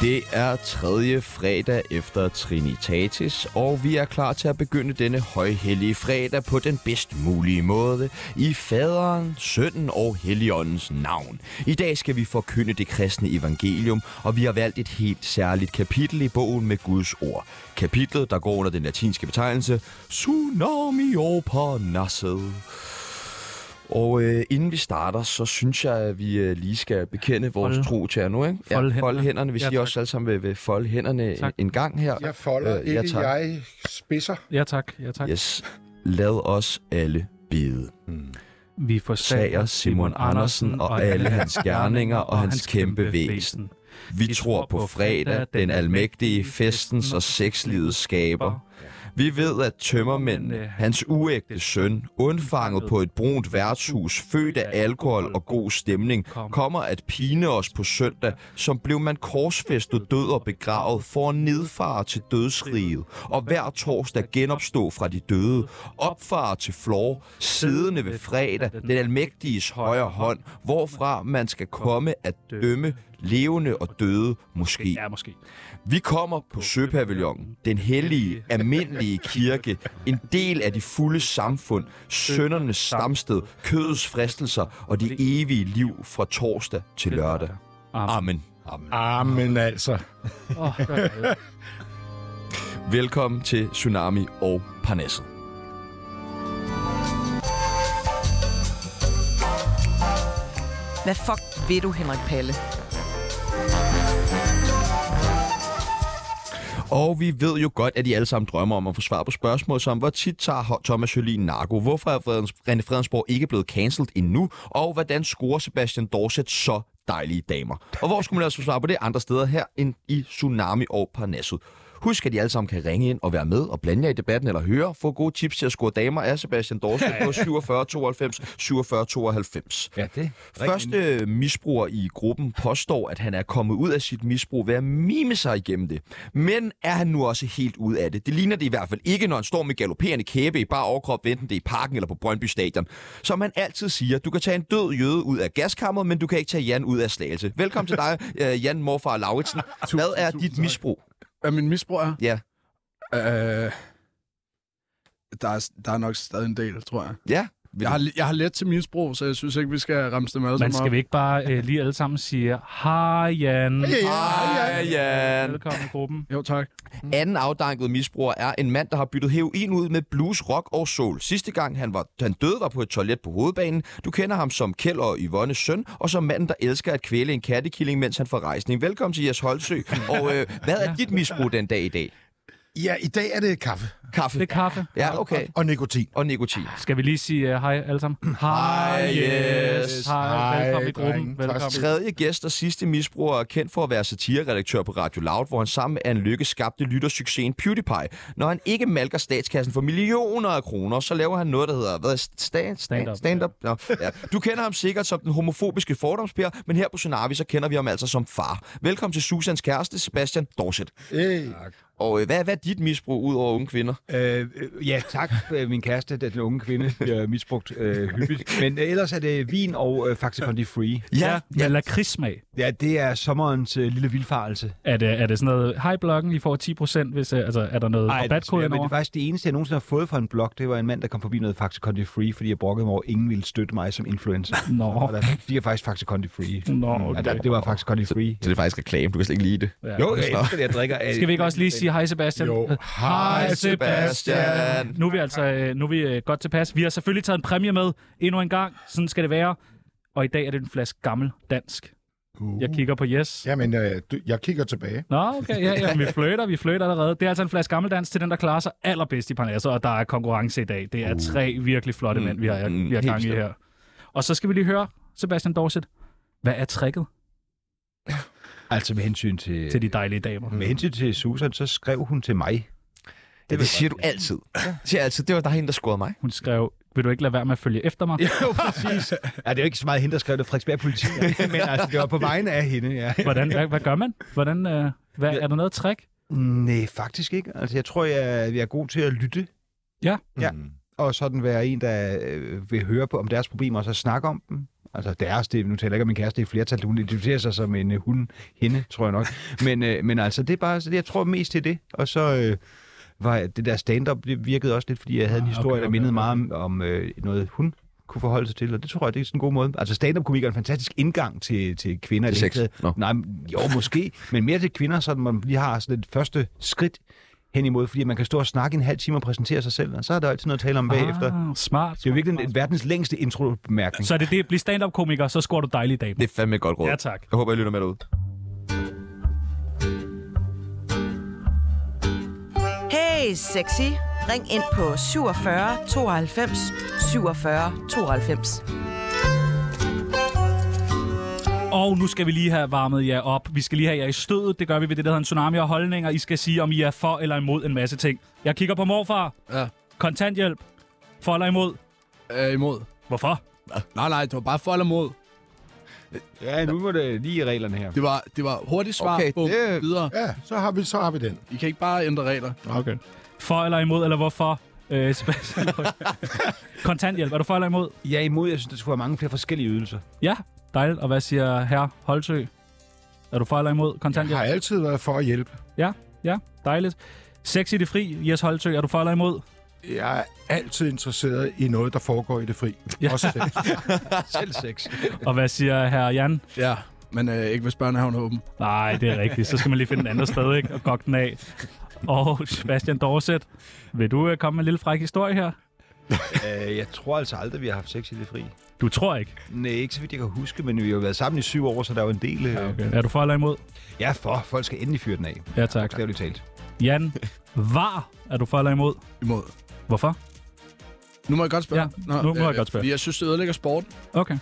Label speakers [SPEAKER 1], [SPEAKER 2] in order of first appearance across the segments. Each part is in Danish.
[SPEAKER 1] Det er tredje fredag efter Trinitatis, og vi er klar til at begynde denne højhellige fredag på den bedst mulige måde i faderen, sønnen og helligåndens navn. I dag skal vi forkynde det kristne evangelium, og vi har valgt et helt særligt kapitel i bogen med Guds ord. Kapitlet, der går under den latinske betegnelse Tsunami over Parnasset. Og øh, inden vi starter, så synes jeg, at vi øh, lige skal bekende vores
[SPEAKER 2] Fold-
[SPEAKER 1] tro til jer nu. Ikke?
[SPEAKER 2] Fold
[SPEAKER 1] ja, fold
[SPEAKER 2] hænderne.
[SPEAKER 1] hænderne. Vi
[SPEAKER 2] Ja,
[SPEAKER 1] siger
[SPEAKER 2] tak.
[SPEAKER 1] også alle sammen ved, ved folde hænderne en,
[SPEAKER 2] Tak.
[SPEAKER 1] en gang her.
[SPEAKER 3] Jeg folder
[SPEAKER 1] Øh,
[SPEAKER 3] øh,
[SPEAKER 1] ja,
[SPEAKER 3] ikke,
[SPEAKER 1] tak.
[SPEAKER 3] jeg spidser.
[SPEAKER 2] Ja tak, ja tak.
[SPEAKER 1] Yes. Lad os alle bede.
[SPEAKER 2] Vi forsager Simon Andersen og alle hans gerninger og hans kæmpe væsen.
[SPEAKER 1] Vi tror på fredag, den almægtige festens og sexlivets skaber. Vi ved, at tømmermændene, hans uægte søn, undfanget på et brunt værtshus, født af alkohol og god stemning, kommer at pine os på søndag, som blev man korsfæstet død og begravet for at nedfare til dødsriget, og hver torsdag genopstå fra de døde, opfare til flor, siddende ved fredag, den almægtiges højre hånd, hvorfra man skal komme at dømme levende og døde måske.
[SPEAKER 2] Ja, måske.
[SPEAKER 1] Vi kommer på Søpavillonen, den hellige, almindelige kirke, en del af de fulde samfund, søndernes stamsted, kødets fristelser og det evige liv fra torsdag til lørdag. Amen.
[SPEAKER 3] Amen altså.
[SPEAKER 2] Åh, der er jeg.
[SPEAKER 1] Velkommen til Tsunami og Parnasset.
[SPEAKER 4] Hvad fuck ved du, Henrik Palle?
[SPEAKER 1] Og vi ved jo godt, at I alle sammen drømmer om at få svar på spørgsmål som, hvor tit tager Ho- Thomas Jølin narko? Hvorfor er Fredens, René Fredensborg ikke blevet cancelled endnu? Og hvordan scorer Sebastian Dorset så dejlige damer? Og hvor skulle man altså svare på det andre steder her end i Tsunami og Parnasset? Husk, at I alle sammen kan ringe ind og være med og blande jer i debatten eller høre. Få gode tips til at score damer af Sebastian Dorset på 47 92 47 92.
[SPEAKER 5] Ja, det.
[SPEAKER 1] Første misbruger i gruppen påstår, at han er kommet ud af sit misbrug ved at mime sig igennem det. Men er han nu også helt ud af det? Det ligner det i hvert fald ikke, når han står med galopperende kæbe i bare overkrop, enten det er i parken eller på Brøndby Stadion. Som han altid siger, du kan tage en død jøde ud af gaskammeret, men du kan ikke tage Jan ud af slagelse. Velkommen til dig, øh, Jan Morfar Lauritsen. Hvad er dit misbrug?
[SPEAKER 6] Hvad min misbrug er?
[SPEAKER 1] Ja.
[SPEAKER 6] Øh, der, er, der er nok stadig en del, tror jeg.
[SPEAKER 1] Ja, Vil
[SPEAKER 6] Jeg
[SPEAKER 1] du-
[SPEAKER 6] har, jeg har let til misbrug, så jeg synes ikke, vi skal ramse dem alle
[SPEAKER 2] Men
[SPEAKER 6] sammen
[SPEAKER 2] skal
[SPEAKER 6] op.
[SPEAKER 2] vi ikke bare øh, lige alle sammen sige, hej Jan.
[SPEAKER 6] Ja, ja, ja, ja.
[SPEAKER 1] Hej, Jan.
[SPEAKER 2] Velkommen i gruppen.
[SPEAKER 6] Jo, tak.
[SPEAKER 1] Anden afdanket misbruger er en mand, der har byttet heroin ud med blues, rock og soul. Sidste gang han, var, han døde var på et toilet på hovedbanen. Du kender ham som Kjell og Yvonnes søn, og som manden, der elsker at kvæle en kattekilling, mens han får rejsning. Velkommen til Jes Holtsø. Og øh, hvad er dit misbrug den dag i dag?
[SPEAKER 3] Ja, i dag er det kaffe
[SPEAKER 1] Kaffe.
[SPEAKER 2] Det er kaffe.
[SPEAKER 1] Ja, okay.
[SPEAKER 3] og nikotin.
[SPEAKER 1] Og nikotin.
[SPEAKER 2] Skal vi lige sige øh, hej alle sammen? Hej,
[SPEAKER 1] yes.
[SPEAKER 2] Hej,
[SPEAKER 3] Hej,
[SPEAKER 2] velkommen i
[SPEAKER 3] drenge.
[SPEAKER 2] gruppen.
[SPEAKER 3] Tak skal
[SPEAKER 2] Velkommen.
[SPEAKER 1] Tredje gæst og sidste misbruger er kendt for at være satireredaktør på Radio Loud, hvor han sammen med Anne Lykke skabte lyttersuccesen PewDiePie. Når han ikke malker statskassen for millioner af kroner, så laver han noget, der hedder hvad, stand, stand,
[SPEAKER 2] Stand-up,
[SPEAKER 1] stand up. Nå, ja. Du kender ham sikkert som den homofobiske fordomsper, men her på Tsunami, så kender vi ham altså som far. Velkommen til Susans kæreste, Sebastian Dorset.
[SPEAKER 3] Hey.
[SPEAKER 1] Og øh, hvad, hvad er dit misbrug ud over unge kvinder?
[SPEAKER 5] Øh, øh, ja, tak, øh, min kæreste, at den unge kvinde bliver misbrugt øh, hyppigt. Men øh, ellers er det vin og øh, Faxe Condi Free.
[SPEAKER 2] Ja, med lakridssmag.
[SPEAKER 5] Ja, det er sommerens øh, lille vildfarelse.
[SPEAKER 2] Er det, er det sådan noget, hej bloggen, I får 10%, hvis, øh, altså, er der noget
[SPEAKER 5] Ej,
[SPEAKER 2] rabatkode
[SPEAKER 5] men det er
[SPEAKER 2] indover?
[SPEAKER 5] faktisk det eneste, jeg nogensinde har fået fra en blog, det var en mand, der kom forbi noget Faxe Condi Free, fordi jeg brokkede mig over, at ingen ville støtte mig som influencer.
[SPEAKER 2] Nå,
[SPEAKER 5] Og der, de er faktisk Faxe Condi Free.
[SPEAKER 2] nå,
[SPEAKER 5] Ja,
[SPEAKER 2] okay.
[SPEAKER 5] der, det var faktisk Condi Free.
[SPEAKER 1] Så det er faktisk reklame, du kan slet ikke lide det.
[SPEAKER 2] Ja.
[SPEAKER 5] Jo, jeg elsker det, jeg drikker. øh,
[SPEAKER 2] Skal vi ikke også lige sige hej, Sebastian?
[SPEAKER 3] Jo.
[SPEAKER 2] Hej, Sebastian. Nu er vi altså øh, nu er vi øh, godt tilpas. Vi har selvfølgelig taget en præmie med endnu en gang. Sådan skal det være. Og i dag er det en flaske gammel dansk.
[SPEAKER 3] Uh.
[SPEAKER 2] Jeg kigger på yes.
[SPEAKER 3] Jamen, øh, du, jeg kigger tilbage.
[SPEAKER 2] Nå, okay, ja, ja, men vi fløjter, vi fløjter allerede. Det er altså en flaske gammeldans til den, der klarer sig allerbedst i Parnasset, og der er konkurrence i dag. Det er tre virkelig flotte
[SPEAKER 1] Mm,
[SPEAKER 2] mænd, vi har,
[SPEAKER 1] Uh. mm,
[SPEAKER 2] vi har
[SPEAKER 1] helt
[SPEAKER 2] gang i
[SPEAKER 1] bestemt.
[SPEAKER 2] her. Og så skal vi lige høre, Sebastian Dorset, hvad er tricket
[SPEAKER 5] Altså med hensyn
[SPEAKER 1] Øh,
[SPEAKER 5] til...
[SPEAKER 2] til de dejlige damer?
[SPEAKER 5] Med hensyn til Susan, så skrev hun til mig.
[SPEAKER 1] Ja, det siger du altid. Det siger jeg altid. Det var dig, der scorede mig.
[SPEAKER 2] Hun skrev, vil du ikke lade være med at følge efter mig?
[SPEAKER 5] Jo, præcis. ja, det er jo ikke så meget hende, der skrev det. Frederiksberg Politi. men altså, det var på vegne af hende, ja.
[SPEAKER 2] Hvordan, hvad, hvad gør man? Hvordan, øh, hvad, er der noget trick?
[SPEAKER 5] Nej, faktisk ikke. Altså, jeg tror, jeg, jeg er god til at lytte.
[SPEAKER 2] Ja.
[SPEAKER 1] Mm.
[SPEAKER 5] ja. Og sådan være en, der øh, vil høre på om deres problemer, og så snakke om dem. Altså deres, det, nu taler jeg ikke om min kæreste, det er flertal, hun identificerer sig som en øh, hun, hende, tror jeg nok. Men, øh, men altså, det er bare, så det, jeg tror mest til det. Og så øh, var det der stand-up, det virkede også lidt, fordi jeg havde
[SPEAKER 2] Ah,
[SPEAKER 5] en historie,
[SPEAKER 2] okay,
[SPEAKER 5] der
[SPEAKER 2] okay,
[SPEAKER 5] mindede
[SPEAKER 2] okay.
[SPEAKER 5] meget om, om øh, noget, hun kunne forholde sig til, og det tror jeg, det er sådan en god måde. Altså stand-up-komikere er en fantastisk indgang til, til kvinder. i
[SPEAKER 1] Til
[SPEAKER 5] det hele
[SPEAKER 1] sex?
[SPEAKER 2] øh,
[SPEAKER 5] taget.
[SPEAKER 1] Nå.
[SPEAKER 5] Nej, men- jo, måske, men mere til kvinder, så man lige har sådan et første skridt hen imod, fordi man kan stå og snakke en halv time og præsentere sig selv, og så er der altid noget at tale om bagefter.
[SPEAKER 2] Ah, smart.
[SPEAKER 5] Det er jo virkelig en, verdens længste intro-bemærkning.
[SPEAKER 2] Så er det det, bliv stand-up-komiker, så scorer du dejlige damer.
[SPEAKER 1] Det er fandme et godt råd.
[SPEAKER 2] Ja, tak.
[SPEAKER 1] Jeg håber, I lytter med derude.
[SPEAKER 4] Hey sexy, ring ind på 47 92 47 92.
[SPEAKER 2] Og nu skal vi lige have varmet jer op. Vi skal lige have jer i stødet. Det gør vi ved det, der hedder en tsunami og holdninger. I skal sige, om I er for eller imod en masse ting. Jeg kigger på morfar.
[SPEAKER 6] Ja.
[SPEAKER 2] Kontanthjælp. For eller imod.
[SPEAKER 6] Øh, imod.
[SPEAKER 2] Hvorfor?
[SPEAKER 6] Nej, nej, det var bare for eller mod.
[SPEAKER 5] Ja, nu må det lige i reglerne her.
[SPEAKER 6] Det var, det var hurtigt svar.
[SPEAKER 1] Okay,
[SPEAKER 6] Bum,
[SPEAKER 1] det-
[SPEAKER 6] videre.
[SPEAKER 3] Ja, så har vi, så har vi den.
[SPEAKER 6] I kan ikke bare ændre regler.
[SPEAKER 2] Okay. For eller imod, eller hvorfor? Øh, Sebastian Lund. Kontanthjælp, er du for eller imod?
[SPEAKER 5] Jeg er imod, jeg synes, der skulle være mange flere forskellige ydelser.
[SPEAKER 2] Ja, dejligt. Og hvad siger herre Holtsø? Er du for eller imod
[SPEAKER 3] Jeg
[SPEAKER 2] kontanthjælp?
[SPEAKER 3] har altid været for at hjælpe.
[SPEAKER 2] Ja, ja, dejligt. Sex i det fri, Jes Holtsø, er du for eller imod?
[SPEAKER 3] Jeg er altid interesseret i noget, der foregår i det fri.
[SPEAKER 2] Ja.
[SPEAKER 3] Ja. Også selv.
[SPEAKER 5] Selv sex.
[SPEAKER 2] Og hvad siger herre Jan?
[SPEAKER 6] Ja, men øh, ikke hvis børnehaven er åben.
[SPEAKER 2] Nej, det er rigtigt. Så skal man lige finde den anden sted, ikke? Og gokke den af. Og Sebastian Dorset, vil du øh, komme med en lille fræk historie her?
[SPEAKER 5] øh, jeg tror altså aldrig, vi har haft sex i det fri.
[SPEAKER 2] Du tror ikke.
[SPEAKER 5] Nej, ikke så vidt jeg kan huske, men vi har jo været sammen i syv år, så der er jo en del... Øh... Ja, okay.
[SPEAKER 2] Er du for eller imod?
[SPEAKER 5] ja, for folk skal endelig fyre den af.
[SPEAKER 2] Ja, tak.
[SPEAKER 5] Bogstaveligt talt.
[SPEAKER 2] Jan, var er du for eller imod?
[SPEAKER 6] Imod.
[SPEAKER 2] Hvorfor?
[SPEAKER 6] Nu må jeg godt spørge. øh,
[SPEAKER 2] Ja, nu må jeg godt spørge.
[SPEAKER 6] Fordi jeg synes, det ødelægger sporten.
[SPEAKER 2] Okay.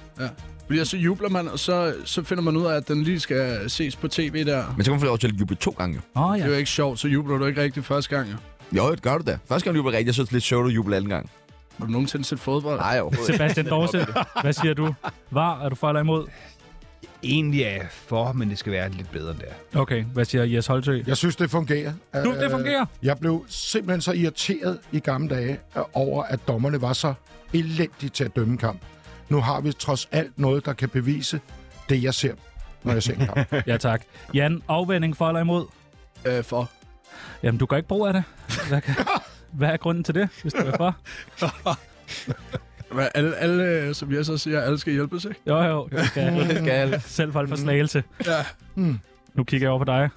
[SPEAKER 6] Fordi så jubler man, og så, så finder man ud af, at den lige skal ses på tv der.
[SPEAKER 1] Men så kan man få lov til at juble to gange. jo.
[SPEAKER 2] Åh, oh,
[SPEAKER 6] Det
[SPEAKER 2] ja.
[SPEAKER 6] er jo ikke sjovt, så jubler du ikke rigtig første gang. Jo.
[SPEAKER 1] Jo, det gør du da. Første gang du jubler rigtigt, jeg synes det er lidt sjovt at juble anden gang.
[SPEAKER 6] Har du nogensinde set fodbold?
[SPEAKER 1] Nej, overhovedet ikke.
[SPEAKER 2] Sebastian Dorset, hvad siger du? Var er du for eller imod?
[SPEAKER 5] Egentlig er jeg for, men det skal være lidt bedre end det er.
[SPEAKER 2] Okay, hvad siger Jes Holtø?
[SPEAKER 3] Jeg synes, det fungerer.
[SPEAKER 2] Du, det fungerer.
[SPEAKER 3] Øh, Jeg blev simpelthen så irriteret i gamle dage øh, over, at dommerne var så elendige til at dømme kamp. Nu har vi trods alt noget, der kan bevise det, jeg ser, når jeg ser en kamp.
[SPEAKER 2] Ja, tak. Jan, afvænding for eller imod?
[SPEAKER 6] Øh, for.
[SPEAKER 2] Jamen, du gør ikke brug af det. Hvad, kan... hvad er grunden til det, hvis du er for?
[SPEAKER 6] Hvad, alle, alle, øh, som jeg så siger, alle skal hjælpes, ikke?
[SPEAKER 2] Jo, jo, det skal
[SPEAKER 1] Det skal.
[SPEAKER 2] selv holde for slagelse.
[SPEAKER 6] Ja.
[SPEAKER 2] Nu kigger jeg over på dig.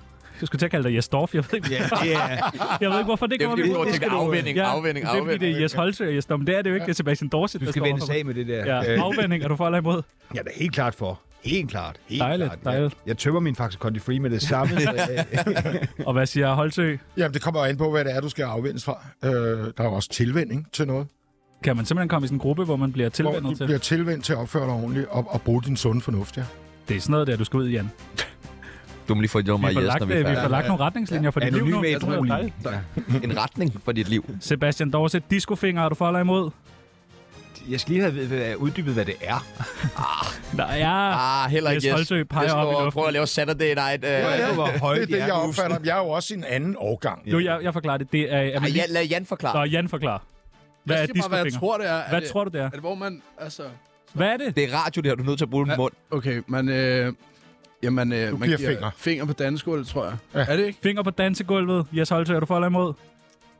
[SPEAKER 2] Jeg skulle til at kalde dig Jes Dorf. Jeg ved ikke,
[SPEAKER 5] Ja, det er...
[SPEAKER 2] jeg ved ikke hvorfor det
[SPEAKER 1] Det er
[SPEAKER 2] kommer
[SPEAKER 1] fordi,
[SPEAKER 2] vi
[SPEAKER 1] vi prøver at tænke afvending,
[SPEAKER 2] Ja,
[SPEAKER 1] afvending,
[SPEAKER 2] Det er fordi, det
[SPEAKER 1] afvending.
[SPEAKER 2] er Jes Holtø og Jes Dom. Det er det jo ikke, det er Sebastian Dorset,
[SPEAKER 5] Du
[SPEAKER 2] der
[SPEAKER 5] skal
[SPEAKER 2] står
[SPEAKER 5] vende
[SPEAKER 2] overfor mig.
[SPEAKER 5] sag med det der. Øh,
[SPEAKER 2] Ja, afvænding. Er du for eller imod?
[SPEAKER 5] jeg er da helt klart for. Helt klart. Helt
[SPEAKER 2] Dejligt,
[SPEAKER 5] klart.
[SPEAKER 2] dejligt.
[SPEAKER 5] Jeg, jeg tømmer min faktisk Condi Free med det samme. så, øh,
[SPEAKER 2] Og hvad siger Holtø?
[SPEAKER 3] Jamen, det kommer jo an på, hvad det er, du skal afvendes fra. Øh, der er jo også tilvænding til noget.
[SPEAKER 2] Kan man simpelthen komme i sådan en gruppe, hvor man bliver
[SPEAKER 3] hvor du
[SPEAKER 2] tilvendet til?
[SPEAKER 3] bliver tilvendt til at opføre dig ordentligt og, og bruge din sunde fornuft, ja.
[SPEAKER 2] Det er sådan noget der, du skal ud, Jan.
[SPEAKER 1] Du må lige få et jord
[SPEAKER 2] Vi
[SPEAKER 1] mig
[SPEAKER 2] får
[SPEAKER 1] yes,
[SPEAKER 2] lagt,
[SPEAKER 1] når vi er
[SPEAKER 2] øh, vi får
[SPEAKER 1] færdige.
[SPEAKER 2] lagt nogle retningslinjer for dit liv nu.
[SPEAKER 5] Anonym
[SPEAKER 2] Jeg tror, det er dejligt.
[SPEAKER 5] ædruelige. Ja.
[SPEAKER 1] En retning for dit liv.
[SPEAKER 2] Sebastian Dorset, discofinger, er du for eller imod?
[SPEAKER 5] Jeg skal lige have øh, uddybet, hvad det er.
[SPEAKER 2] Nej, ja.
[SPEAKER 1] Ah, heller
[SPEAKER 2] Jes
[SPEAKER 1] ikke yes.
[SPEAKER 2] Holtøj peger
[SPEAKER 1] Jeg skal
[SPEAKER 2] op i
[SPEAKER 1] over-
[SPEAKER 2] luften.
[SPEAKER 1] Prøv at lave Saturday night. Øh.
[SPEAKER 5] Ja, ja. Hvor høje
[SPEAKER 3] det er
[SPEAKER 5] de
[SPEAKER 3] det,
[SPEAKER 5] er,
[SPEAKER 3] jeg
[SPEAKER 5] musene.
[SPEAKER 3] opfatter. dem. Jeg er jo også i en anden årgang.
[SPEAKER 2] Jo, jeg, jeg forklarer det. Det er... er man
[SPEAKER 1] Ej,
[SPEAKER 2] lige...
[SPEAKER 1] Jan, lad Jan forklare.
[SPEAKER 2] Nå, Jan forklarer. Hvad
[SPEAKER 6] jeg
[SPEAKER 2] er
[SPEAKER 6] siger bare, hvad jeg
[SPEAKER 2] discofinger?
[SPEAKER 6] tror, det er. er
[SPEAKER 2] Hvad
[SPEAKER 6] det,
[SPEAKER 2] tror du, det er?
[SPEAKER 6] Er det, hvor man, altså...
[SPEAKER 2] Hvad er det?
[SPEAKER 1] Det er radio, det her. Du er nødt til at bruge din
[SPEAKER 6] Ja.
[SPEAKER 1] mund.
[SPEAKER 6] Okay, man, øh, jamen, øh, man
[SPEAKER 3] giver fingre.
[SPEAKER 6] finger på danskål, tror jeg.
[SPEAKER 3] Ja.
[SPEAKER 6] Ja. Er det ikke?
[SPEAKER 2] Finger på dansegulvet. Jes Holtø, er du for eller imod?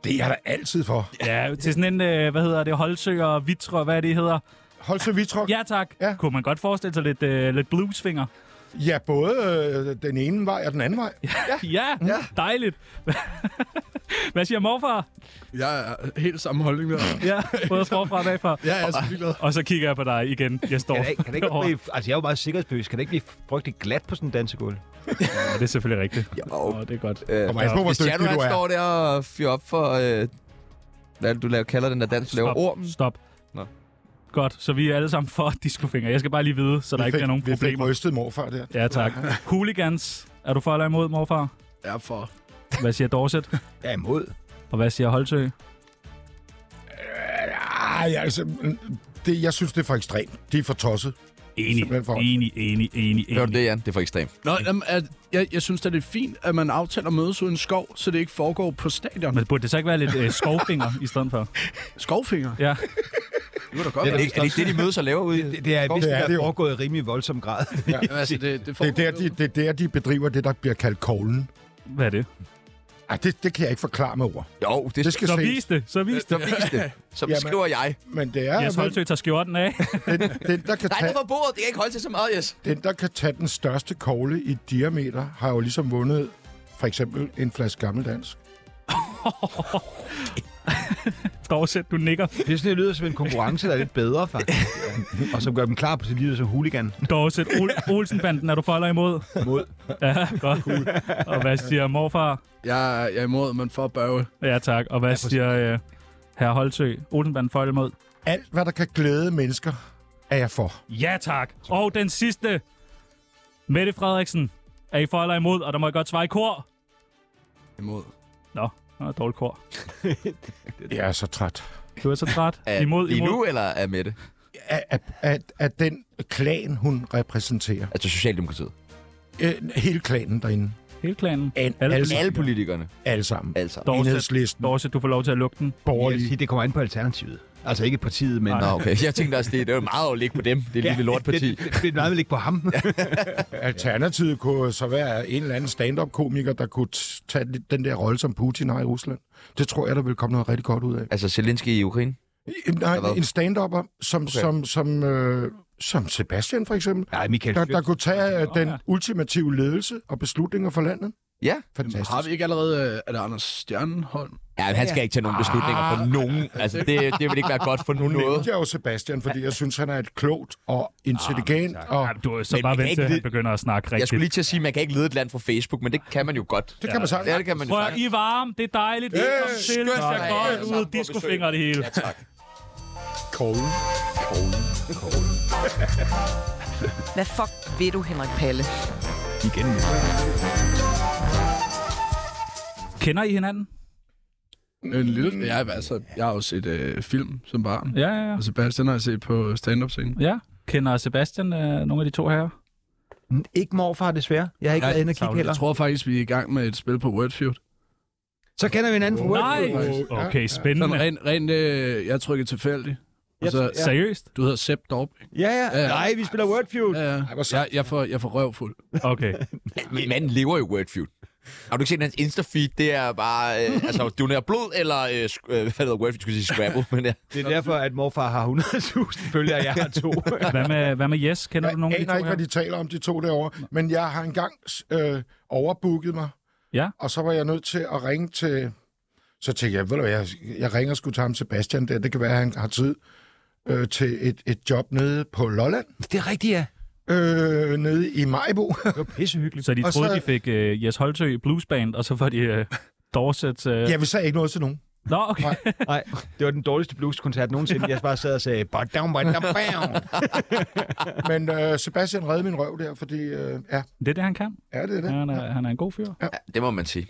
[SPEAKER 3] Det er jeg da altid for.
[SPEAKER 2] Ja, til sådan en, øh, hvad hedder det, Holtsø og Vitro, hvad er det, hedder?
[SPEAKER 3] Hold så vidtruk. Ja.
[SPEAKER 2] Ja, tak.
[SPEAKER 3] Ja.
[SPEAKER 2] Kunne man godt forestille sig lidt, øh, lidt bluesfinger?
[SPEAKER 3] ja, både øh, den ene vej og den anden vej.
[SPEAKER 2] Ja, ja. dejligt. Hvad siger morfar?
[SPEAKER 6] Jeg er helt samme holdning der.
[SPEAKER 2] Ja, både forfra og bagfra.
[SPEAKER 6] Ja, jeg er så ligeglad.
[SPEAKER 2] Og så kigger jeg på dig igen. Jeg står
[SPEAKER 5] Kan det, ikke- kan det ikke blive, altså, jeg er jo meget sikkerhedsbevidst. Kan det ikke blive frygtelig glat på sådan en dansegulv?
[SPEAKER 2] Ja, det er selvfølgelig rigtigt.
[SPEAKER 1] Jo.
[SPEAKER 2] Åh, det er godt.
[SPEAKER 1] Øh,
[SPEAKER 3] Kommer an på, hvor
[SPEAKER 1] Hvis Jan,
[SPEAKER 3] dygtig
[SPEAKER 1] han
[SPEAKER 3] du er.
[SPEAKER 1] står der og fyrer op for... Øh, hvad er det, du laver, kalder den der dans, du laver
[SPEAKER 2] Stop.
[SPEAKER 1] ormen?
[SPEAKER 2] Stop.
[SPEAKER 1] Nå.
[SPEAKER 2] Godt, så vi er alle sammen for discofinger. Jeg skal bare lige vide, så der ikke
[SPEAKER 3] fik,
[SPEAKER 2] er nogen
[SPEAKER 3] vi fik
[SPEAKER 2] problemer.
[SPEAKER 3] rystet morfar der.
[SPEAKER 2] Ja, tak. Hooligans. Er du for eller imod, morfar?
[SPEAKER 6] Jeg er for.
[SPEAKER 2] Hvad siger Dorset?
[SPEAKER 5] Jeg er imod.
[SPEAKER 2] Og hvad siger Holtø?
[SPEAKER 3] Ej, altså, det, jeg synes, det er for ekstremt. De er for tosset.
[SPEAKER 2] Enig,
[SPEAKER 3] Simpelthen for-
[SPEAKER 2] enig, enig, enig,
[SPEAKER 1] Hørte du
[SPEAKER 2] enig.
[SPEAKER 1] det, Jan? Det er for ekstremt.
[SPEAKER 6] Nå, jamen, at, jeg, jeg synes da, det er fint, at man aftaler at mødes uden skov, så det ikke foregår på stadion.
[SPEAKER 2] Men burde det så ikke være lidt øh, skovfinger i stedet for?
[SPEAKER 6] Skovfinger?
[SPEAKER 2] Ja.
[SPEAKER 6] Nu er der godt.
[SPEAKER 1] Er det, ikke- er det ikke det, de mødes og laver ude i?
[SPEAKER 5] Det, det er, hvis
[SPEAKER 3] det
[SPEAKER 5] det
[SPEAKER 3] er
[SPEAKER 5] er,
[SPEAKER 3] det jo.
[SPEAKER 5] foregået i rimelig voldsom grad.
[SPEAKER 6] Jamen, altså, det, det, får,
[SPEAKER 3] Det er, der, de, det er der, de bedriver det, der bliver kaldt koglen.
[SPEAKER 2] Hvad er det?
[SPEAKER 3] Ej, det, det kan jeg ikke forklare med ord.
[SPEAKER 1] Jo, det,
[SPEAKER 3] Det skal
[SPEAKER 2] Så
[SPEAKER 3] ses.
[SPEAKER 2] vis det, så vis det.
[SPEAKER 1] så vis det. Så
[SPEAKER 3] Jamen.
[SPEAKER 1] beskriver jeg.
[SPEAKER 3] Men det er,
[SPEAKER 2] Jes
[SPEAKER 3] vel
[SPEAKER 2] Holtøj tager skjorten af.
[SPEAKER 3] den, den, der kan
[SPEAKER 1] Nej,
[SPEAKER 3] tage,
[SPEAKER 1] det var bordet. Det kan ikke holde til så meget, yes.
[SPEAKER 3] den, der kan tage den største kogle i diameter, har jo ligesom vundet for eksempel en flaske gammeldansk.
[SPEAKER 2] Dog sæt, du nikker.
[SPEAKER 5] Det er sådan, det lyder som en konkurrence, der er lidt bedre, faktisk. og som gør dem klar på sit liv som hooligan.
[SPEAKER 2] Dog sæt, Ol- Olsenbanden er du for eller imod?
[SPEAKER 5] Mod.
[SPEAKER 2] Ja, godt. Og hvad siger morfar?
[SPEAKER 6] jeg, er- jeg er imod, men for at bøve.
[SPEAKER 2] Ja, tak. Og hvad siger øh, herre Holtø? Olsenbanden for eller imod?
[SPEAKER 3] Alt, hvad der kan glæde mennesker, er jeg for.
[SPEAKER 2] Ja, tak. Og den sidste. Mette Frederiksen. Er I for eller imod? Og der må jeg godt svare i kor.
[SPEAKER 6] Imod.
[SPEAKER 2] Nå, nå dårlig kor.
[SPEAKER 3] Jeg er så træt.
[SPEAKER 2] Du er så træt.
[SPEAKER 1] Er
[SPEAKER 2] Imod,
[SPEAKER 1] lige
[SPEAKER 2] imod.
[SPEAKER 1] nu, eller er med det?
[SPEAKER 3] Af, af, af, af den klan, hun repræsenterer.
[SPEAKER 1] Altså Socialdemokratiet.
[SPEAKER 3] Øh, hele klanen derinde.
[SPEAKER 2] Hele klanen.
[SPEAKER 3] An,
[SPEAKER 2] Alle-
[SPEAKER 3] alle, alle,
[SPEAKER 1] Alle politikerne.
[SPEAKER 3] alle sammen.
[SPEAKER 1] Altså.
[SPEAKER 2] Dorset.
[SPEAKER 3] Enhedslisten,
[SPEAKER 2] Dorset, du får lov til at lukke den.
[SPEAKER 5] Jeg
[SPEAKER 3] borgerlige.
[SPEAKER 5] siger, det kommer an på alternativet. Altså ikke partiet, men...
[SPEAKER 1] Nå, okay. Jeg tænkte også, det, det var meget at ligge på dem. Det er lille lortparti.
[SPEAKER 5] Det, det, det er meget vel ikke på ham.
[SPEAKER 3] Alternativet kunne så være en eller anden stand-up-komiker, der kunne t- tage den der rolle, som Putin har i Rusland. Det tror jeg, der vil komme noget rigtig godt ud af.
[SPEAKER 1] Altså Zelensky i Ukraine.
[SPEAKER 3] I- Nej,
[SPEAKER 1] hvad?
[SPEAKER 3] en stand-upper, som, okay. som, som, øh, som Sebastian for eksempel,
[SPEAKER 5] Nej, Michael
[SPEAKER 3] der,
[SPEAKER 5] Schødt.
[SPEAKER 3] der kunne tage øh,
[SPEAKER 2] Nå,
[SPEAKER 3] den
[SPEAKER 2] ja.
[SPEAKER 3] ultimative ledelse og beslutninger for landet.
[SPEAKER 1] Ja.
[SPEAKER 6] Jamen,
[SPEAKER 3] Fantastisk.
[SPEAKER 6] har vi ikke allerede... øh, Er det Anders Stjernholm?
[SPEAKER 1] Ja, men han skal ikke tage nogen beslutninger for nogen. Altså, det, det vil ikke være godt for noget.
[SPEAKER 3] Nævnte jeg jo Sebastian, fordi jeg synes, han er et klogt og intelligent. og
[SPEAKER 2] Ah, Ja, du er så
[SPEAKER 1] Men
[SPEAKER 2] bare
[SPEAKER 1] vi kan
[SPEAKER 2] vent
[SPEAKER 1] ikke
[SPEAKER 2] til, at han
[SPEAKER 1] vide-
[SPEAKER 2] begynder at snakke
[SPEAKER 1] Jeg skulle
[SPEAKER 2] rigtigt.
[SPEAKER 1] lige til at sige, at man kan ikke lede et land fra Facebook, men det kan man jo godt.
[SPEAKER 3] det kan man sagt.
[SPEAKER 1] Ja, det kan man jo
[SPEAKER 2] Prøv at,
[SPEAKER 1] sagtens.
[SPEAKER 2] I er varme. Det er dejligt. Det er
[SPEAKER 1] skønt,
[SPEAKER 2] til. Det
[SPEAKER 1] at
[SPEAKER 2] ser
[SPEAKER 1] I alle
[SPEAKER 2] godt
[SPEAKER 1] sammen
[SPEAKER 2] ud.
[SPEAKER 1] på
[SPEAKER 2] Discofingre og det hele.
[SPEAKER 1] tak.
[SPEAKER 4] Hvad fuck ved du, Henrik Palle?
[SPEAKER 5] igen.
[SPEAKER 2] Kender I hinanden?
[SPEAKER 6] En lille... Jeg, er- altså, jeg har jo set øh, film som barn.
[SPEAKER 2] Ja, ja, ja.
[SPEAKER 6] Og Sebastian har jeg set på stand-up-scenen.
[SPEAKER 2] Ja. Kender Sebastian øh, nogle af de to her?
[SPEAKER 5] Ikke morfar, desværre. Jeg har ikke
[SPEAKER 6] Nej,
[SPEAKER 5] været inde og kigge
[SPEAKER 6] Jeg
[SPEAKER 5] heller.
[SPEAKER 6] tror faktisk, vi er i gang med et spil på Wordfeud.
[SPEAKER 5] Så kender vi en anden fra
[SPEAKER 2] Nej!
[SPEAKER 5] Wordfeud.
[SPEAKER 2] Okay,
[SPEAKER 6] Sådan
[SPEAKER 2] spændende.
[SPEAKER 6] rent, rent øh, jeg trykkede tilfældigt. Og
[SPEAKER 5] Jeg
[SPEAKER 6] så,
[SPEAKER 5] tror-
[SPEAKER 6] ja.
[SPEAKER 2] Seriøst?
[SPEAKER 6] Du hedder Sepp Dorp. ikke?
[SPEAKER 5] Ja,
[SPEAKER 6] Ja,
[SPEAKER 5] ja.
[SPEAKER 6] ja.
[SPEAKER 5] Nej, vi spiller Wordfeud.
[SPEAKER 6] Ja, ja.
[SPEAKER 3] Ej, hvor sejt.
[SPEAKER 6] Jeg, jeg, får, jeg får røvfuld.
[SPEAKER 2] Okay.
[SPEAKER 1] Min mand lever i Wordfeud. Har du ikke set hans Insta-feed? Det er bare... Øh, altså, donerer blod, eller... Øh, sk- øh, hvad hedder Wordfeud? Skulle jeg sige Scrabble, men ja.
[SPEAKER 5] Det er derfor, at morfar har 100.000 følgere, og jeg har to.
[SPEAKER 2] Hvad med, hvad med Jes? Kender
[SPEAKER 3] Jeg
[SPEAKER 2] du nogle af de to
[SPEAKER 3] aner ikke,
[SPEAKER 2] her?
[SPEAKER 3] hvad de taler om, de to derovre. Men jeg har engang øh, overbooket mig,
[SPEAKER 2] Ja.
[SPEAKER 3] og så var jeg nødt til at ringe til... Så tænkte jeg, ved du hvad, jeg, jeg ringer sgu til ham Sebastian der, det kan være, at han har tid øh, til et, et job nede på Lolland,
[SPEAKER 5] det er rigtigt, ja.
[SPEAKER 3] øh, nede i Majbo.
[SPEAKER 5] Det var pissehyggeligt.
[SPEAKER 2] Så de
[SPEAKER 3] Og
[SPEAKER 2] troede,
[SPEAKER 3] så-
[SPEAKER 2] de fik øh, Jes Holtø i Bluesband, og så var de øh, Dorset... Øh...
[SPEAKER 3] jeg vil så ikke noget til nogen.
[SPEAKER 2] Nå, okay.
[SPEAKER 3] Nej.
[SPEAKER 5] Nej, det var den dårligste blueskoncert nogensinde. Jeg bare sad og sagde, badam, badam, badam.
[SPEAKER 3] Men øh, Sebastian redde min røv der, fordi øh, ja,
[SPEAKER 2] Det er det, han kan.
[SPEAKER 3] er det det?
[SPEAKER 2] Han er, han er en god fyr.
[SPEAKER 1] ja. Det må man sige.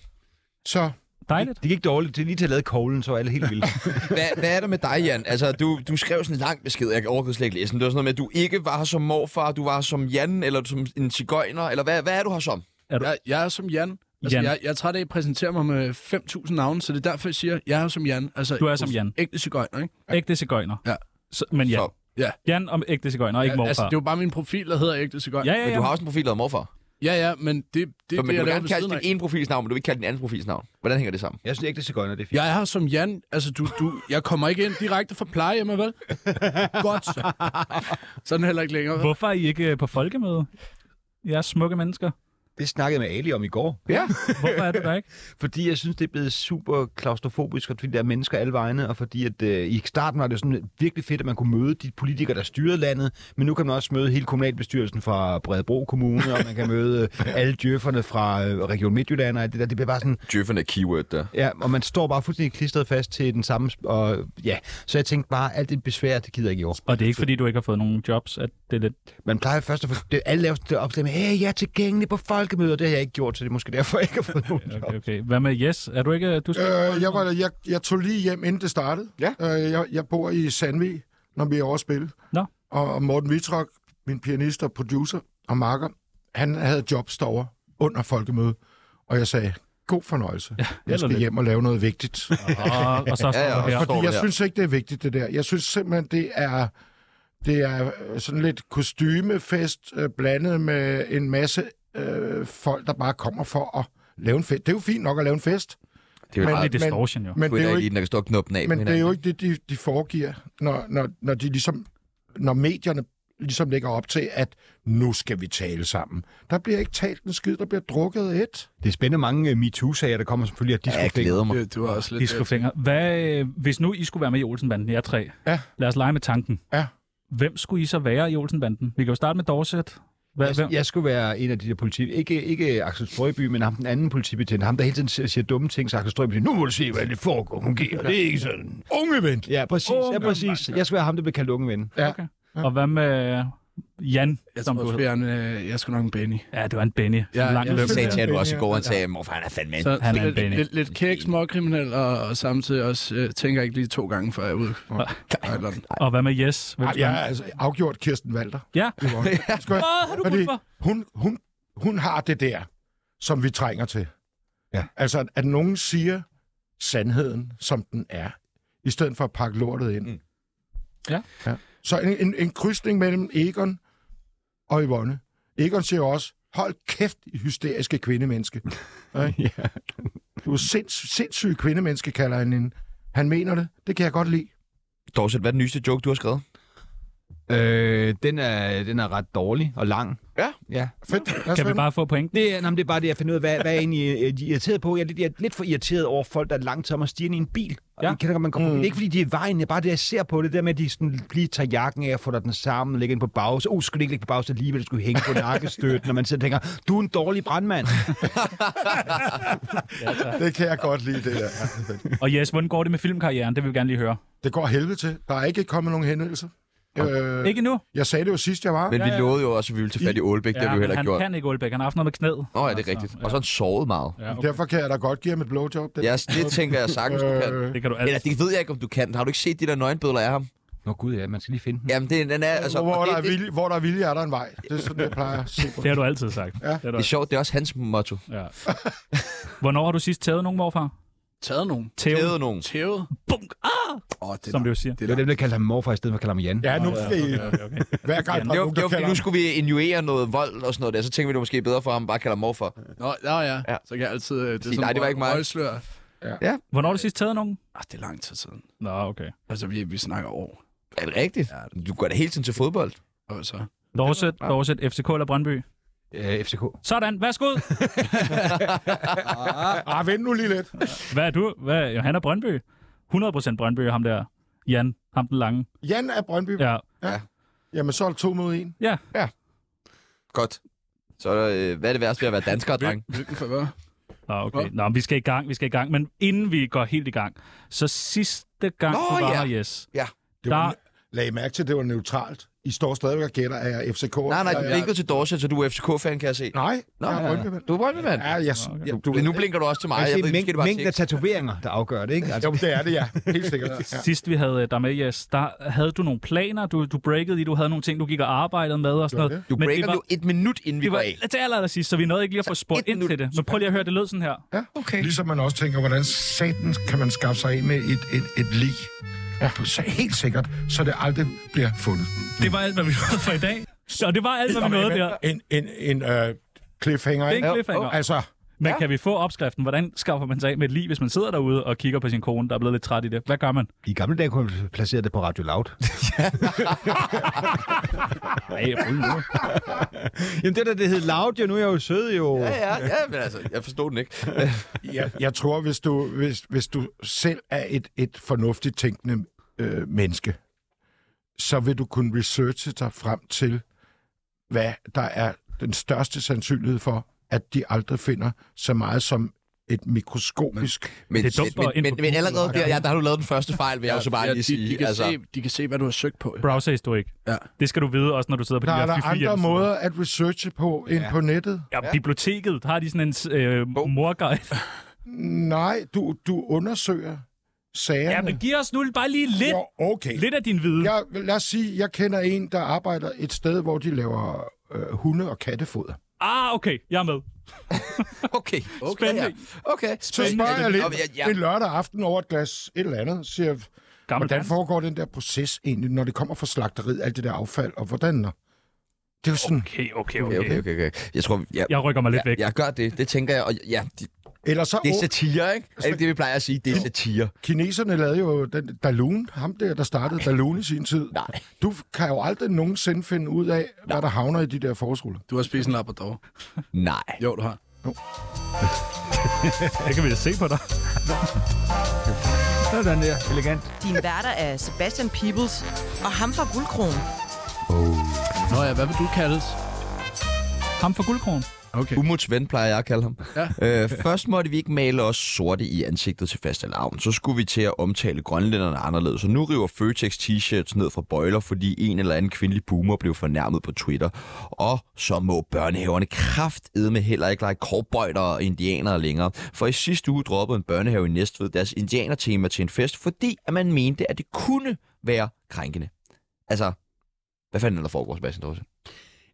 [SPEAKER 3] Så
[SPEAKER 2] Dejligt.
[SPEAKER 5] Det gik dårligt. Det er lige til at lave koglen, så var alle helt vilde.
[SPEAKER 1] Hvad, hvad er der med dig, Jan? Altså, du, du skrev sådan en lang besked, jeg overhovedet slet ikke læse den. Det var sådan noget med, at du ikke var her som morfar, du var her som Jan, eller som en cigøjner, eller hvad, hvad er du her som?
[SPEAKER 6] Jeg, jeg er som Jan. Altså,
[SPEAKER 2] Jan.
[SPEAKER 6] Jeg, jeg er træt af, at I præsenterer mig med 5.000 navne, så det er derfor, jeg siger, jeg er som Jan. Altså,
[SPEAKER 2] Du er som Jan.
[SPEAKER 6] Ægte cigøjner, ikke?
[SPEAKER 2] Ægte cigøjner.
[SPEAKER 6] Ja.
[SPEAKER 2] Så, men Jan.
[SPEAKER 1] Så,
[SPEAKER 6] ja.
[SPEAKER 2] Jan om ægte cigøjner, og ikke morfar.
[SPEAKER 6] Altså, det er jo bare min profil, der hedder ægte cigøjner.
[SPEAKER 2] Ja, ja,
[SPEAKER 1] Men
[SPEAKER 2] ja.
[SPEAKER 1] du har også en profil, der hedder morfar.
[SPEAKER 6] Ja, ja, men det, det, det
[SPEAKER 1] Så, men
[SPEAKER 6] jeg
[SPEAKER 1] du vil
[SPEAKER 6] laver
[SPEAKER 1] gerne
[SPEAKER 6] ved
[SPEAKER 1] kalde
[SPEAKER 6] siden
[SPEAKER 1] din
[SPEAKER 6] af. En...
[SPEAKER 1] ene profils navn, men du vil ikke kalde din anden profils navn. Hvordan hænger det sammen?
[SPEAKER 5] Jeg synes ikke, det er så godt, når det er fint.
[SPEAKER 6] Jeg er her som Jan. Altså, du, du, jeg kommer ikke ind direkte fra plejehjemmet, vel? Godt så. Sådan heller ikke længere. vel?
[SPEAKER 2] Hvorfor er I ikke øh, på folkemøde? Jeg er smukke mennesker.
[SPEAKER 5] Det snakkede jeg med Ali om i går.
[SPEAKER 2] Hvorfor er du der ikke?
[SPEAKER 5] Fordi jeg synes, det er blevet super klaustrofobisk, og fordi der er mennesker alle vegne, og fordi at, øh, i starten var det jo sådan virkelig fedt, at man kunne møde de politikere, der styrede landet, men nu kan man også møde hele kommunalbestyrelsen fra Bredebro Kommune, og man kan møde øh, alle djøfferne fra øh, Region Midtjylland, og alt det der. Det bliver bare sådan,
[SPEAKER 1] Jøffen er keyword der.
[SPEAKER 5] ja, og man står bare fuldstændig klistret fast til den samme, sp- og ja, så jeg tænkte bare, alt det besvær, det gider jeg ikke i år.
[SPEAKER 2] Og det er ikke, fordi du ikke har fået nogen jobs, at det er lidt...
[SPEAKER 5] Man plejer først at få, det, alle laver sådan det opslag med, hey, jeg er tilgængelig på folkemøder, det har jeg ikke gjort, så det er måske derfor, jeg ikke har fået nogen job.
[SPEAKER 2] Okay, okay. Hvad med Jes? Er du ikke... Du skal...
[SPEAKER 3] øh, jeg, var, jeg, jeg tog lige hjem, inden det startede.
[SPEAKER 1] Ja.
[SPEAKER 3] Øh, jeg, jeg bor i Sandvig, når vi er over at spille.
[SPEAKER 2] Nå.
[SPEAKER 3] Og, og Morten Vitrok, min pianist og producer og marker, han havde jobs derovre under folkemødet. Og jeg sagde, god fornøjelse. Ja, jeg
[SPEAKER 2] held og
[SPEAKER 3] skal
[SPEAKER 2] lykke.
[SPEAKER 3] hjem og lave noget vigtigt.
[SPEAKER 2] Og, og så står
[SPEAKER 1] Ja, ja,
[SPEAKER 2] du her.
[SPEAKER 1] og så-
[SPEAKER 3] Fordi
[SPEAKER 1] står
[SPEAKER 3] jeg
[SPEAKER 1] der.
[SPEAKER 3] synes ikke, det er vigtigt, det der. Jeg synes simpelthen, det er, det er øh, sådan lidt kostymefest øh, blandet med en masse øh, folk, der bare kommer for at lave en fest. Det er jo fint nok at lave en fest,
[SPEAKER 1] Det er jo
[SPEAKER 3] Men-
[SPEAKER 1] bare
[SPEAKER 2] Det er distortion, jo.
[SPEAKER 3] men
[SPEAKER 1] sgu
[SPEAKER 3] det er
[SPEAKER 1] da
[SPEAKER 3] jo
[SPEAKER 1] ikke
[SPEAKER 3] ikke,
[SPEAKER 1] lige, der kan stå og knuppe den af. på
[SPEAKER 3] men det er
[SPEAKER 1] hinanden.
[SPEAKER 3] jo ikke det, de, de foregiver, når, når, når de ligesom, når medierne ligesom lægger op til, at nu skal vi tale sammen. Der bliver ikke talt en skid, der bliver drukket et.
[SPEAKER 5] Det er spændende mange øh, MeToo-sager, der kommer selvfølgelig af
[SPEAKER 1] Ja, jeg
[SPEAKER 5] disco
[SPEAKER 1] glæder mig.
[SPEAKER 6] Det, det var også lidt...
[SPEAKER 2] Discofinger. Hvad, øh, hvis nu I skulle være med i Olsenbanden, jer tre.
[SPEAKER 3] Ja.
[SPEAKER 2] Lad os lege med tanken.
[SPEAKER 3] Ja.
[SPEAKER 2] Hvem skulle I så være i Olsenbanden? Vi kan jo starte med Dorset. Hvad, hvem?
[SPEAKER 5] jeg, jeg skulle være en af de der politi... Ikke, ikke Axel Strøby, men ham den anden politibetjent. Ham, der hele tiden siger, siger dumme ting, så Axel Strøby siger, nu må du se, hvordan det foregår. Fungerer. Det er ikke sådan.
[SPEAKER 3] Ungeven!
[SPEAKER 5] Ja, præcis. Ja, præcis. Jeg skal være ham, der bliver kaldt unge ven.
[SPEAKER 2] Og hvad med øh, Jan,
[SPEAKER 6] Jeg
[SPEAKER 2] som
[SPEAKER 6] tror
[SPEAKER 2] du
[SPEAKER 6] også,
[SPEAKER 2] hedder?
[SPEAKER 6] jeg er en, øh, jeg skulle nok en Benny.
[SPEAKER 2] Ja, det var en Benny.
[SPEAKER 6] Ja,
[SPEAKER 2] Lang
[SPEAKER 6] jeg
[SPEAKER 2] løb.
[SPEAKER 1] Sagde
[SPEAKER 2] der.
[SPEAKER 1] Tjern jo også i går, han sagde, morfar, han er fandme en.
[SPEAKER 6] Så,
[SPEAKER 2] Han er
[SPEAKER 6] så
[SPEAKER 2] en
[SPEAKER 6] lidt,
[SPEAKER 2] Benny.
[SPEAKER 6] lidt, lidt kæk, småkriminel, og, og samtidig også øh, tænker ikke lige to gange, før jeg er ude. Eller,
[SPEAKER 2] Og hvad med Yes? Hvem
[SPEAKER 3] Ej,
[SPEAKER 2] skulle
[SPEAKER 3] jeg
[SPEAKER 2] han-
[SPEAKER 3] er altså afgjort Kirsten Walter.
[SPEAKER 2] Ja.
[SPEAKER 3] Det var- Det skal jeg-
[SPEAKER 2] Åh, har du
[SPEAKER 3] Fordi
[SPEAKER 2] brug for?
[SPEAKER 3] hun, hun, hun har det der, som vi trænger til.
[SPEAKER 5] Ja.
[SPEAKER 3] Altså, at, at nogen siger sandheden, som den er, i stedet for at pakke lortet ind.
[SPEAKER 1] Mm.
[SPEAKER 2] Ja.
[SPEAKER 3] ja. Så en, en, en krydsning mellem Egon og Yvonne. Egon siger også, hold kæft, I hysteriske kvindemenneske. ja. Du er sinds, sindssyg kvindemenneske, kalder han hende. Han mener det. Det kan jeg godt lide.
[SPEAKER 1] Dorset, hvad er den nyeste joke, du har skrevet?
[SPEAKER 5] Øh, den, er, den er ret dårlig og lang.
[SPEAKER 1] Ja.
[SPEAKER 5] ja.
[SPEAKER 3] Fedt. Lad os
[SPEAKER 2] Kan vi
[SPEAKER 3] vende.
[SPEAKER 2] bare få pointen?
[SPEAKER 5] Det, er- nå, men det er bare det, jeg finder ud af, hvad, hvad er egentlig øh, de er irriteret på. Jeg er, lidt, jeg er lidt for irriteret over folk, der er langt om at stige ind i en bil. Og
[SPEAKER 2] Ja.
[SPEAKER 5] ja. kan, man kommer, mm. Ikke fordi de er i vejen, det er bare det, jeg ser på det. Der med, at de sådan lige tager jakken af og får den sammen og lægger den på bags. Uh, skulle det ikke ligge på bags alligevel, det skulle hænge på nakkestøtten. når man sidder og tænker, du er en dårlig brandmand.
[SPEAKER 3] Det kan jeg godt lide, det der. Ja, det er fedt.
[SPEAKER 2] Og Yes, hvordan går det med filmkarrieren? Det vil vi gerne lige høre.
[SPEAKER 3] Det går helvede til. Der er ikke kommet nogen henvendelser. Øh,
[SPEAKER 2] Ikke nu.
[SPEAKER 3] jeg sagde det jo sidst, jeg var.
[SPEAKER 1] Men vi lovede jo også, at vi ville tage fat i Aalbæk, det har vi jo heller
[SPEAKER 2] han
[SPEAKER 1] ikke gjort.
[SPEAKER 2] kan ikke Aalbæk. Han har haft noget med knæet. Altså,
[SPEAKER 1] Nå ja, det
[SPEAKER 3] Altså,
[SPEAKER 1] er rigtigt. Og så har han sovet meget.
[SPEAKER 2] Ja, okay.
[SPEAKER 3] Derfor kan jeg da godt give ham et blowjob. Det,
[SPEAKER 1] Ja, det tænker jeg sagtens, du kan.
[SPEAKER 3] øh,
[SPEAKER 2] Det kan du
[SPEAKER 1] Eller
[SPEAKER 2] altid.
[SPEAKER 1] det ved jeg ikke, om du kan. Har du ikke set de der nøgenbilleder af ham?
[SPEAKER 5] Nå gud, ja, man skal lige finde den.
[SPEAKER 1] Jamen, det, den er... Altså,
[SPEAKER 3] hvor, hvor,
[SPEAKER 1] og
[SPEAKER 3] der er
[SPEAKER 1] det, det,
[SPEAKER 3] vilje, hvor der er vilje, er der en vej. Det er sådan, jeg plejer at se på.
[SPEAKER 2] Det har du altid sagt. Ja. Det har du
[SPEAKER 1] det er sjovt, det er også hans motto.
[SPEAKER 2] Ja. Hvornår har du sidst tævet nogen, morfar?
[SPEAKER 6] taget nogen.
[SPEAKER 1] Tævede nogen.
[SPEAKER 6] Tævet.
[SPEAKER 2] Bunk! Ah!
[SPEAKER 6] Åh, det er
[SPEAKER 2] Som
[SPEAKER 6] nok-
[SPEAKER 2] du jo siger.
[SPEAKER 5] Det var dem, der kaldte ham morfar, i stedet for at kalde ham Jan.
[SPEAKER 3] Ja, nu skal I...
[SPEAKER 2] Okay, okay.
[SPEAKER 3] Hver gang der er
[SPEAKER 1] Jo,
[SPEAKER 3] nogen,
[SPEAKER 1] jo,
[SPEAKER 3] der
[SPEAKER 1] fordi
[SPEAKER 3] kalder
[SPEAKER 1] nu
[SPEAKER 3] ham.
[SPEAKER 1] skulle vi injurere noget vold og sådan noget der, så tænker vi, det var måske bedre for ham, bare kalder morfar.
[SPEAKER 6] Nå, nå ja.
[SPEAKER 1] Ja.
[SPEAKER 6] ja. Så kan jeg altid... øh, Det er
[SPEAKER 1] Sige, nej, det var ikke mig.
[SPEAKER 6] Røgslør.
[SPEAKER 2] Hvornår har du sidst tævet nogen?
[SPEAKER 6] Ah, det er lang tid siden.
[SPEAKER 2] Nå, okay.
[SPEAKER 6] Altså, vi, vi snakker år.
[SPEAKER 1] Er det rigtigt? Du går da hele tiden til fodbold.
[SPEAKER 6] Og så...
[SPEAKER 2] Dorset, Dorset, FCK eller Brøndby?
[SPEAKER 5] Øh, FCK.
[SPEAKER 2] Sådan, værsgo.
[SPEAKER 3] Ah, vent nu lige lidt.
[SPEAKER 2] Hvad er du? Hvad? Jo, han er Brøndby. 100% Brøndby, ham der. Jan, ham den lange.
[SPEAKER 3] Jan er Brøndby. Ja.
[SPEAKER 2] Ja.
[SPEAKER 3] Jamen, så er det to mod en.
[SPEAKER 1] Godt. Så øh, hvad er det værste ved at være dansker, dreng?
[SPEAKER 6] Hvilken favør?
[SPEAKER 2] Nå, okay. Nå, men vi skal i gang, vi skal i gang. Men inden vi går helt i gang, så sidste gang,
[SPEAKER 1] Nå,
[SPEAKER 2] du var
[SPEAKER 1] ja.
[SPEAKER 2] her, yes.
[SPEAKER 1] Ja.
[SPEAKER 3] Det var, Lag I mærke til, at det var neutralt. I står stadigvæk og gætter, er jeg FCK?
[SPEAKER 1] Nej, nej, du er ikke gået til Dorset, så du er FCK-fan, kan jeg se.
[SPEAKER 3] Nej,
[SPEAKER 1] Nå,
[SPEAKER 3] jeg er
[SPEAKER 1] ja.
[SPEAKER 3] Brøndby.
[SPEAKER 1] Du er Brøndby-mand.
[SPEAKER 3] Ja, jeg,
[SPEAKER 1] Ja,
[SPEAKER 3] du,
[SPEAKER 1] nu blinker du også til mig.
[SPEAKER 5] Man kan
[SPEAKER 1] Jeg
[SPEAKER 5] se
[SPEAKER 1] ved, ikke,
[SPEAKER 5] mæng-
[SPEAKER 1] det var
[SPEAKER 5] mængden af
[SPEAKER 1] tekst.
[SPEAKER 5] tatoveringer, der afgør det, ikke? Altså,
[SPEAKER 3] jo, det er det, ja. Helt sikkert. Ja.
[SPEAKER 2] Sidst vi havde øh, dig med, yes, der havde du nogle planer, du, du breakede i, du havde nogle ting, du gik og arbejdede med og sådan
[SPEAKER 3] Gjorde
[SPEAKER 2] noget.
[SPEAKER 1] Du
[SPEAKER 2] Men det
[SPEAKER 1] breaker
[SPEAKER 2] var-
[SPEAKER 1] jo et minut, inden vi
[SPEAKER 2] Det
[SPEAKER 1] går
[SPEAKER 2] var
[SPEAKER 1] af.
[SPEAKER 2] til aller, aller sidst, så vi nåede ikke lige at få spurgt
[SPEAKER 1] et
[SPEAKER 2] ind til
[SPEAKER 1] minut.
[SPEAKER 2] det. Men prøv lige at høre, det lød sådan her.
[SPEAKER 3] Ja, okay. Ligesom man også tænker, hvordan satan kan man skaffe sig af med et, et, et lig? Ja. Så helt sikkert, så det aldrig bliver fundet.
[SPEAKER 2] Det var alt, hvad vi nåede for i dag. Så det var alt, hvad vi nåede der.
[SPEAKER 3] En, en, en øh, cliffhanger,
[SPEAKER 2] Det er en cliffhanger.
[SPEAKER 3] Altså,
[SPEAKER 2] Men kan vi få opskriften? Hvordan skaffer man sig af med et liv, hvis man sidder derude og kigger på sin kone, der er blevet lidt træt i det? Hvad gør man?
[SPEAKER 5] I gamle dage kunne man placere det på Radio Loud.
[SPEAKER 2] Nej, fuld nu.
[SPEAKER 5] Jamen det der, det hed Loud jo, nu er jeg jo sød jo.
[SPEAKER 1] Ja, ja, ja, men altså, jeg forstod den ikke.
[SPEAKER 3] jeg, jeg tror, hvis du, hvis, hvis du selv er et, et fornuftigt tænkende øh, menneske, så vil du kunne researche dig frem til, hvad der er den største sandsynlighed for, at de aldrig finder så meget som et mikroskopisk...
[SPEAKER 1] Men,
[SPEAKER 2] Det er dumt at
[SPEAKER 1] men, men,
[SPEAKER 2] ind på
[SPEAKER 1] men allerede der, ja, der har du lavet den første fejl, vil jeg jo så bare lige
[SPEAKER 6] de, de,
[SPEAKER 1] sige.
[SPEAKER 6] kan
[SPEAKER 1] Altså,
[SPEAKER 6] se, de kan se, hvad du har søgt på.
[SPEAKER 2] Browserhistorik.
[SPEAKER 6] Ja.
[SPEAKER 2] Det skal du vide også, når du sidder på
[SPEAKER 3] Der
[SPEAKER 2] de her
[SPEAKER 3] er der
[SPEAKER 2] fiffi
[SPEAKER 3] andre
[SPEAKER 2] hjemmesider.
[SPEAKER 3] måder at researche på end på nettet.
[SPEAKER 2] Ja, biblioteket. Har de sådan en øh, morguide?
[SPEAKER 3] Nej, du, du undersøger sagerne.
[SPEAKER 2] Ja, men giv os nu bare lige lidt,
[SPEAKER 3] Jo, okay.
[SPEAKER 2] lidt af din viden.
[SPEAKER 3] Jeg, lad os sige, jeg kender en, der arbejder et sted, hvor de laver øh, hunde- og kattefoder.
[SPEAKER 2] Ah, okay, jeg er med.
[SPEAKER 1] Okay.
[SPEAKER 6] Okay,
[SPEAKER 2] Spændende.
[SPEAKER 1] Okay.
[SPEAKER 3] Så spørger jeg
[SPEAKER 1] Om
[SPEAKER 3] lidt
[SPEAKER 1] ja.
[SPEAKER 3] en lørdag aften over et glas et eller andet, siger, jeg,
[SPEAKER 2] Gammel
[SPEAKER 3] hvordan
[SPEAKER 2] dans.
[SPEAKER 3] foregår den der proces egentlig, når det kommer fra slagteriet, alt det der affald, og hvordan? Og... Det er jo sådan,
[SPEAKER 2] Okay, okay,
[SPEAKER 1] Okay, okay,
[SPEAKER 2] okay.
[SPEAKER 1] okay, okay. Jeg tror, jeg,
[SPEAKER 2] Jeg rykker mig lidt
[SPEAKER 1] jeg,
[SPEAKER 2] væk.
[SPEAKER 1] jeg gør det. Det tænker jeg. Og ja, de,
[SPEAKER 3] eller så...
[SPEAKER 1] det er
[SPEAKER 3] åb-
[SPEAKER 1] satire, ikke? Er det ikke det, vi plejer at sige? Det er satire.
[SPEAKER 3] Kineserne lavede jo den Dalun, ham der, der startede Dalun i sin tid.
[SPEAKER 1] Nej.
[SPEAKER 3] Du kan jo aldrig nogensinde finde ud af, hvad der havner i de der forårsruller.
[SPEAKER 6] Du har spist en labrador.
[SPEAKER 1] Nej.
[SPEAKER 6] Jo, du har.
[SPEAKER 2] Det kan vi da se på dig.
[SPEAKER 5] Sådan der. Elegant.
[SPEAKER 4] Din værter er Sebastian Peebles og ham fra Guldkronen.
[SPEAKER 6] Nå ja, hvad vil du kaldes?
[SPEAKER 2] Ham for guldkronen.
[SPEAKER 6] Okay.
[SPEAKER 1] Umuts ven plejer jeg at kalde ham.
[SPEAKER 6] Ja.
[SPEAKER 1] Øh, først måtte vi ikke male os sorte i ansigtet til fastelavn. Så skulle vi til at omtale grønlænderne anderledes. Så nu river Føtex t-shirts ned fra bøjler, fordi en eller anden kvindelig boomer blev fornærmet på Twitter. Og så må børnehaverne kraftedme heller ikke lege cowboyter og indianere længere. For i sidste uge droppede en børnehave i Næstved deres indianertema til en fest, fordi at man mente, at det kunne være krænkende. Altså, hvad fanden er der foregår, Sebastian Dorsen?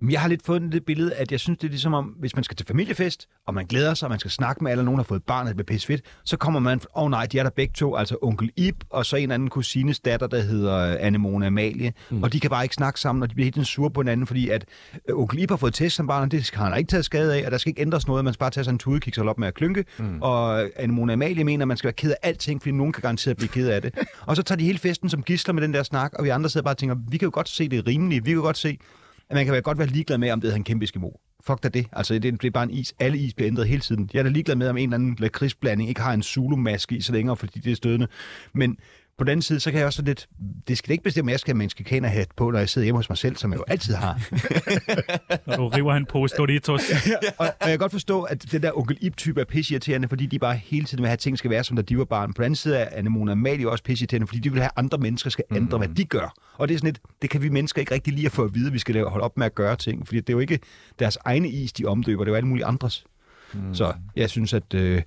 [SPEAKER 5] Men Jeg har lidt fået det billede, at jeg synes, det er ligesom om, hvis man skal til familiefest, og man glæder sig, og man skal snakke med alle, og nogen har fået barnet, det bliver pissefedt, så kommer man, åh oh, nej, de er der begge to, altså onkel Ib, og så en eller anden kusines datter, der hedder øh, Anne-Mona Amalie, mm. og de kan bare ikke snakke sammen, og de bliver helt tiden sure på hinanden, fordi at øh, onkel Ib har fået test som barn, og det skal han ikke taget skade af, og der skal ikke ændres noget, man skal bare tage sådan en tudekiks og holde op med at klynke, mm. og øh, Anne-Mona Amalie mener, at man skal være ked af alting, fordi nogen kan garanteret blive ked af det. og så tager de hele festen som gidsler med den der snak, og vi andre sidder bare og tænker, vi kan jo godt se det er rimeligt, vi kan jo godt se, at man kan være godt være ligeglad med, om det hedder en kæmpe eskimo. Fuck da det. Altså, det, det er bare en is. Alle is bliver ændret hele tiden. Jeg er da ligeglad med, om en eller anden lakridsblanding ikke har en Zulu-maske i så længere, fordi det er stødende. Men på den anden side, så kan jeg også sådan lidt... Det skal da ikke bestemme, at jeg skal have mexikaner hat på, når jeg sidder hjemme hos mig selv, som jeg jo altid har.
[SPEAKER 2] Når du river han på Doritos.
[SPEAKER 5] og, og jeg kan godt forstå, at den der onkel Ip-type er pisseirriterende, fordi de bare hele tiden vil have, at ting skal være, som der de var barn. På den anden side er Anemone og Amalie også pisseirriterende, fordi de vil have, at andre mennesker skal ændre, mm. hvad de gør. Og det er sådan lidt, det kan vi mennesker ikke rigtig lide at få at vide, at vi skal lave, holde op med at gøre ting, fordi det er jo ikke deres egne is, de omdøber, det er jo alle mulige andres. Mm. Så jeg synes, at øh,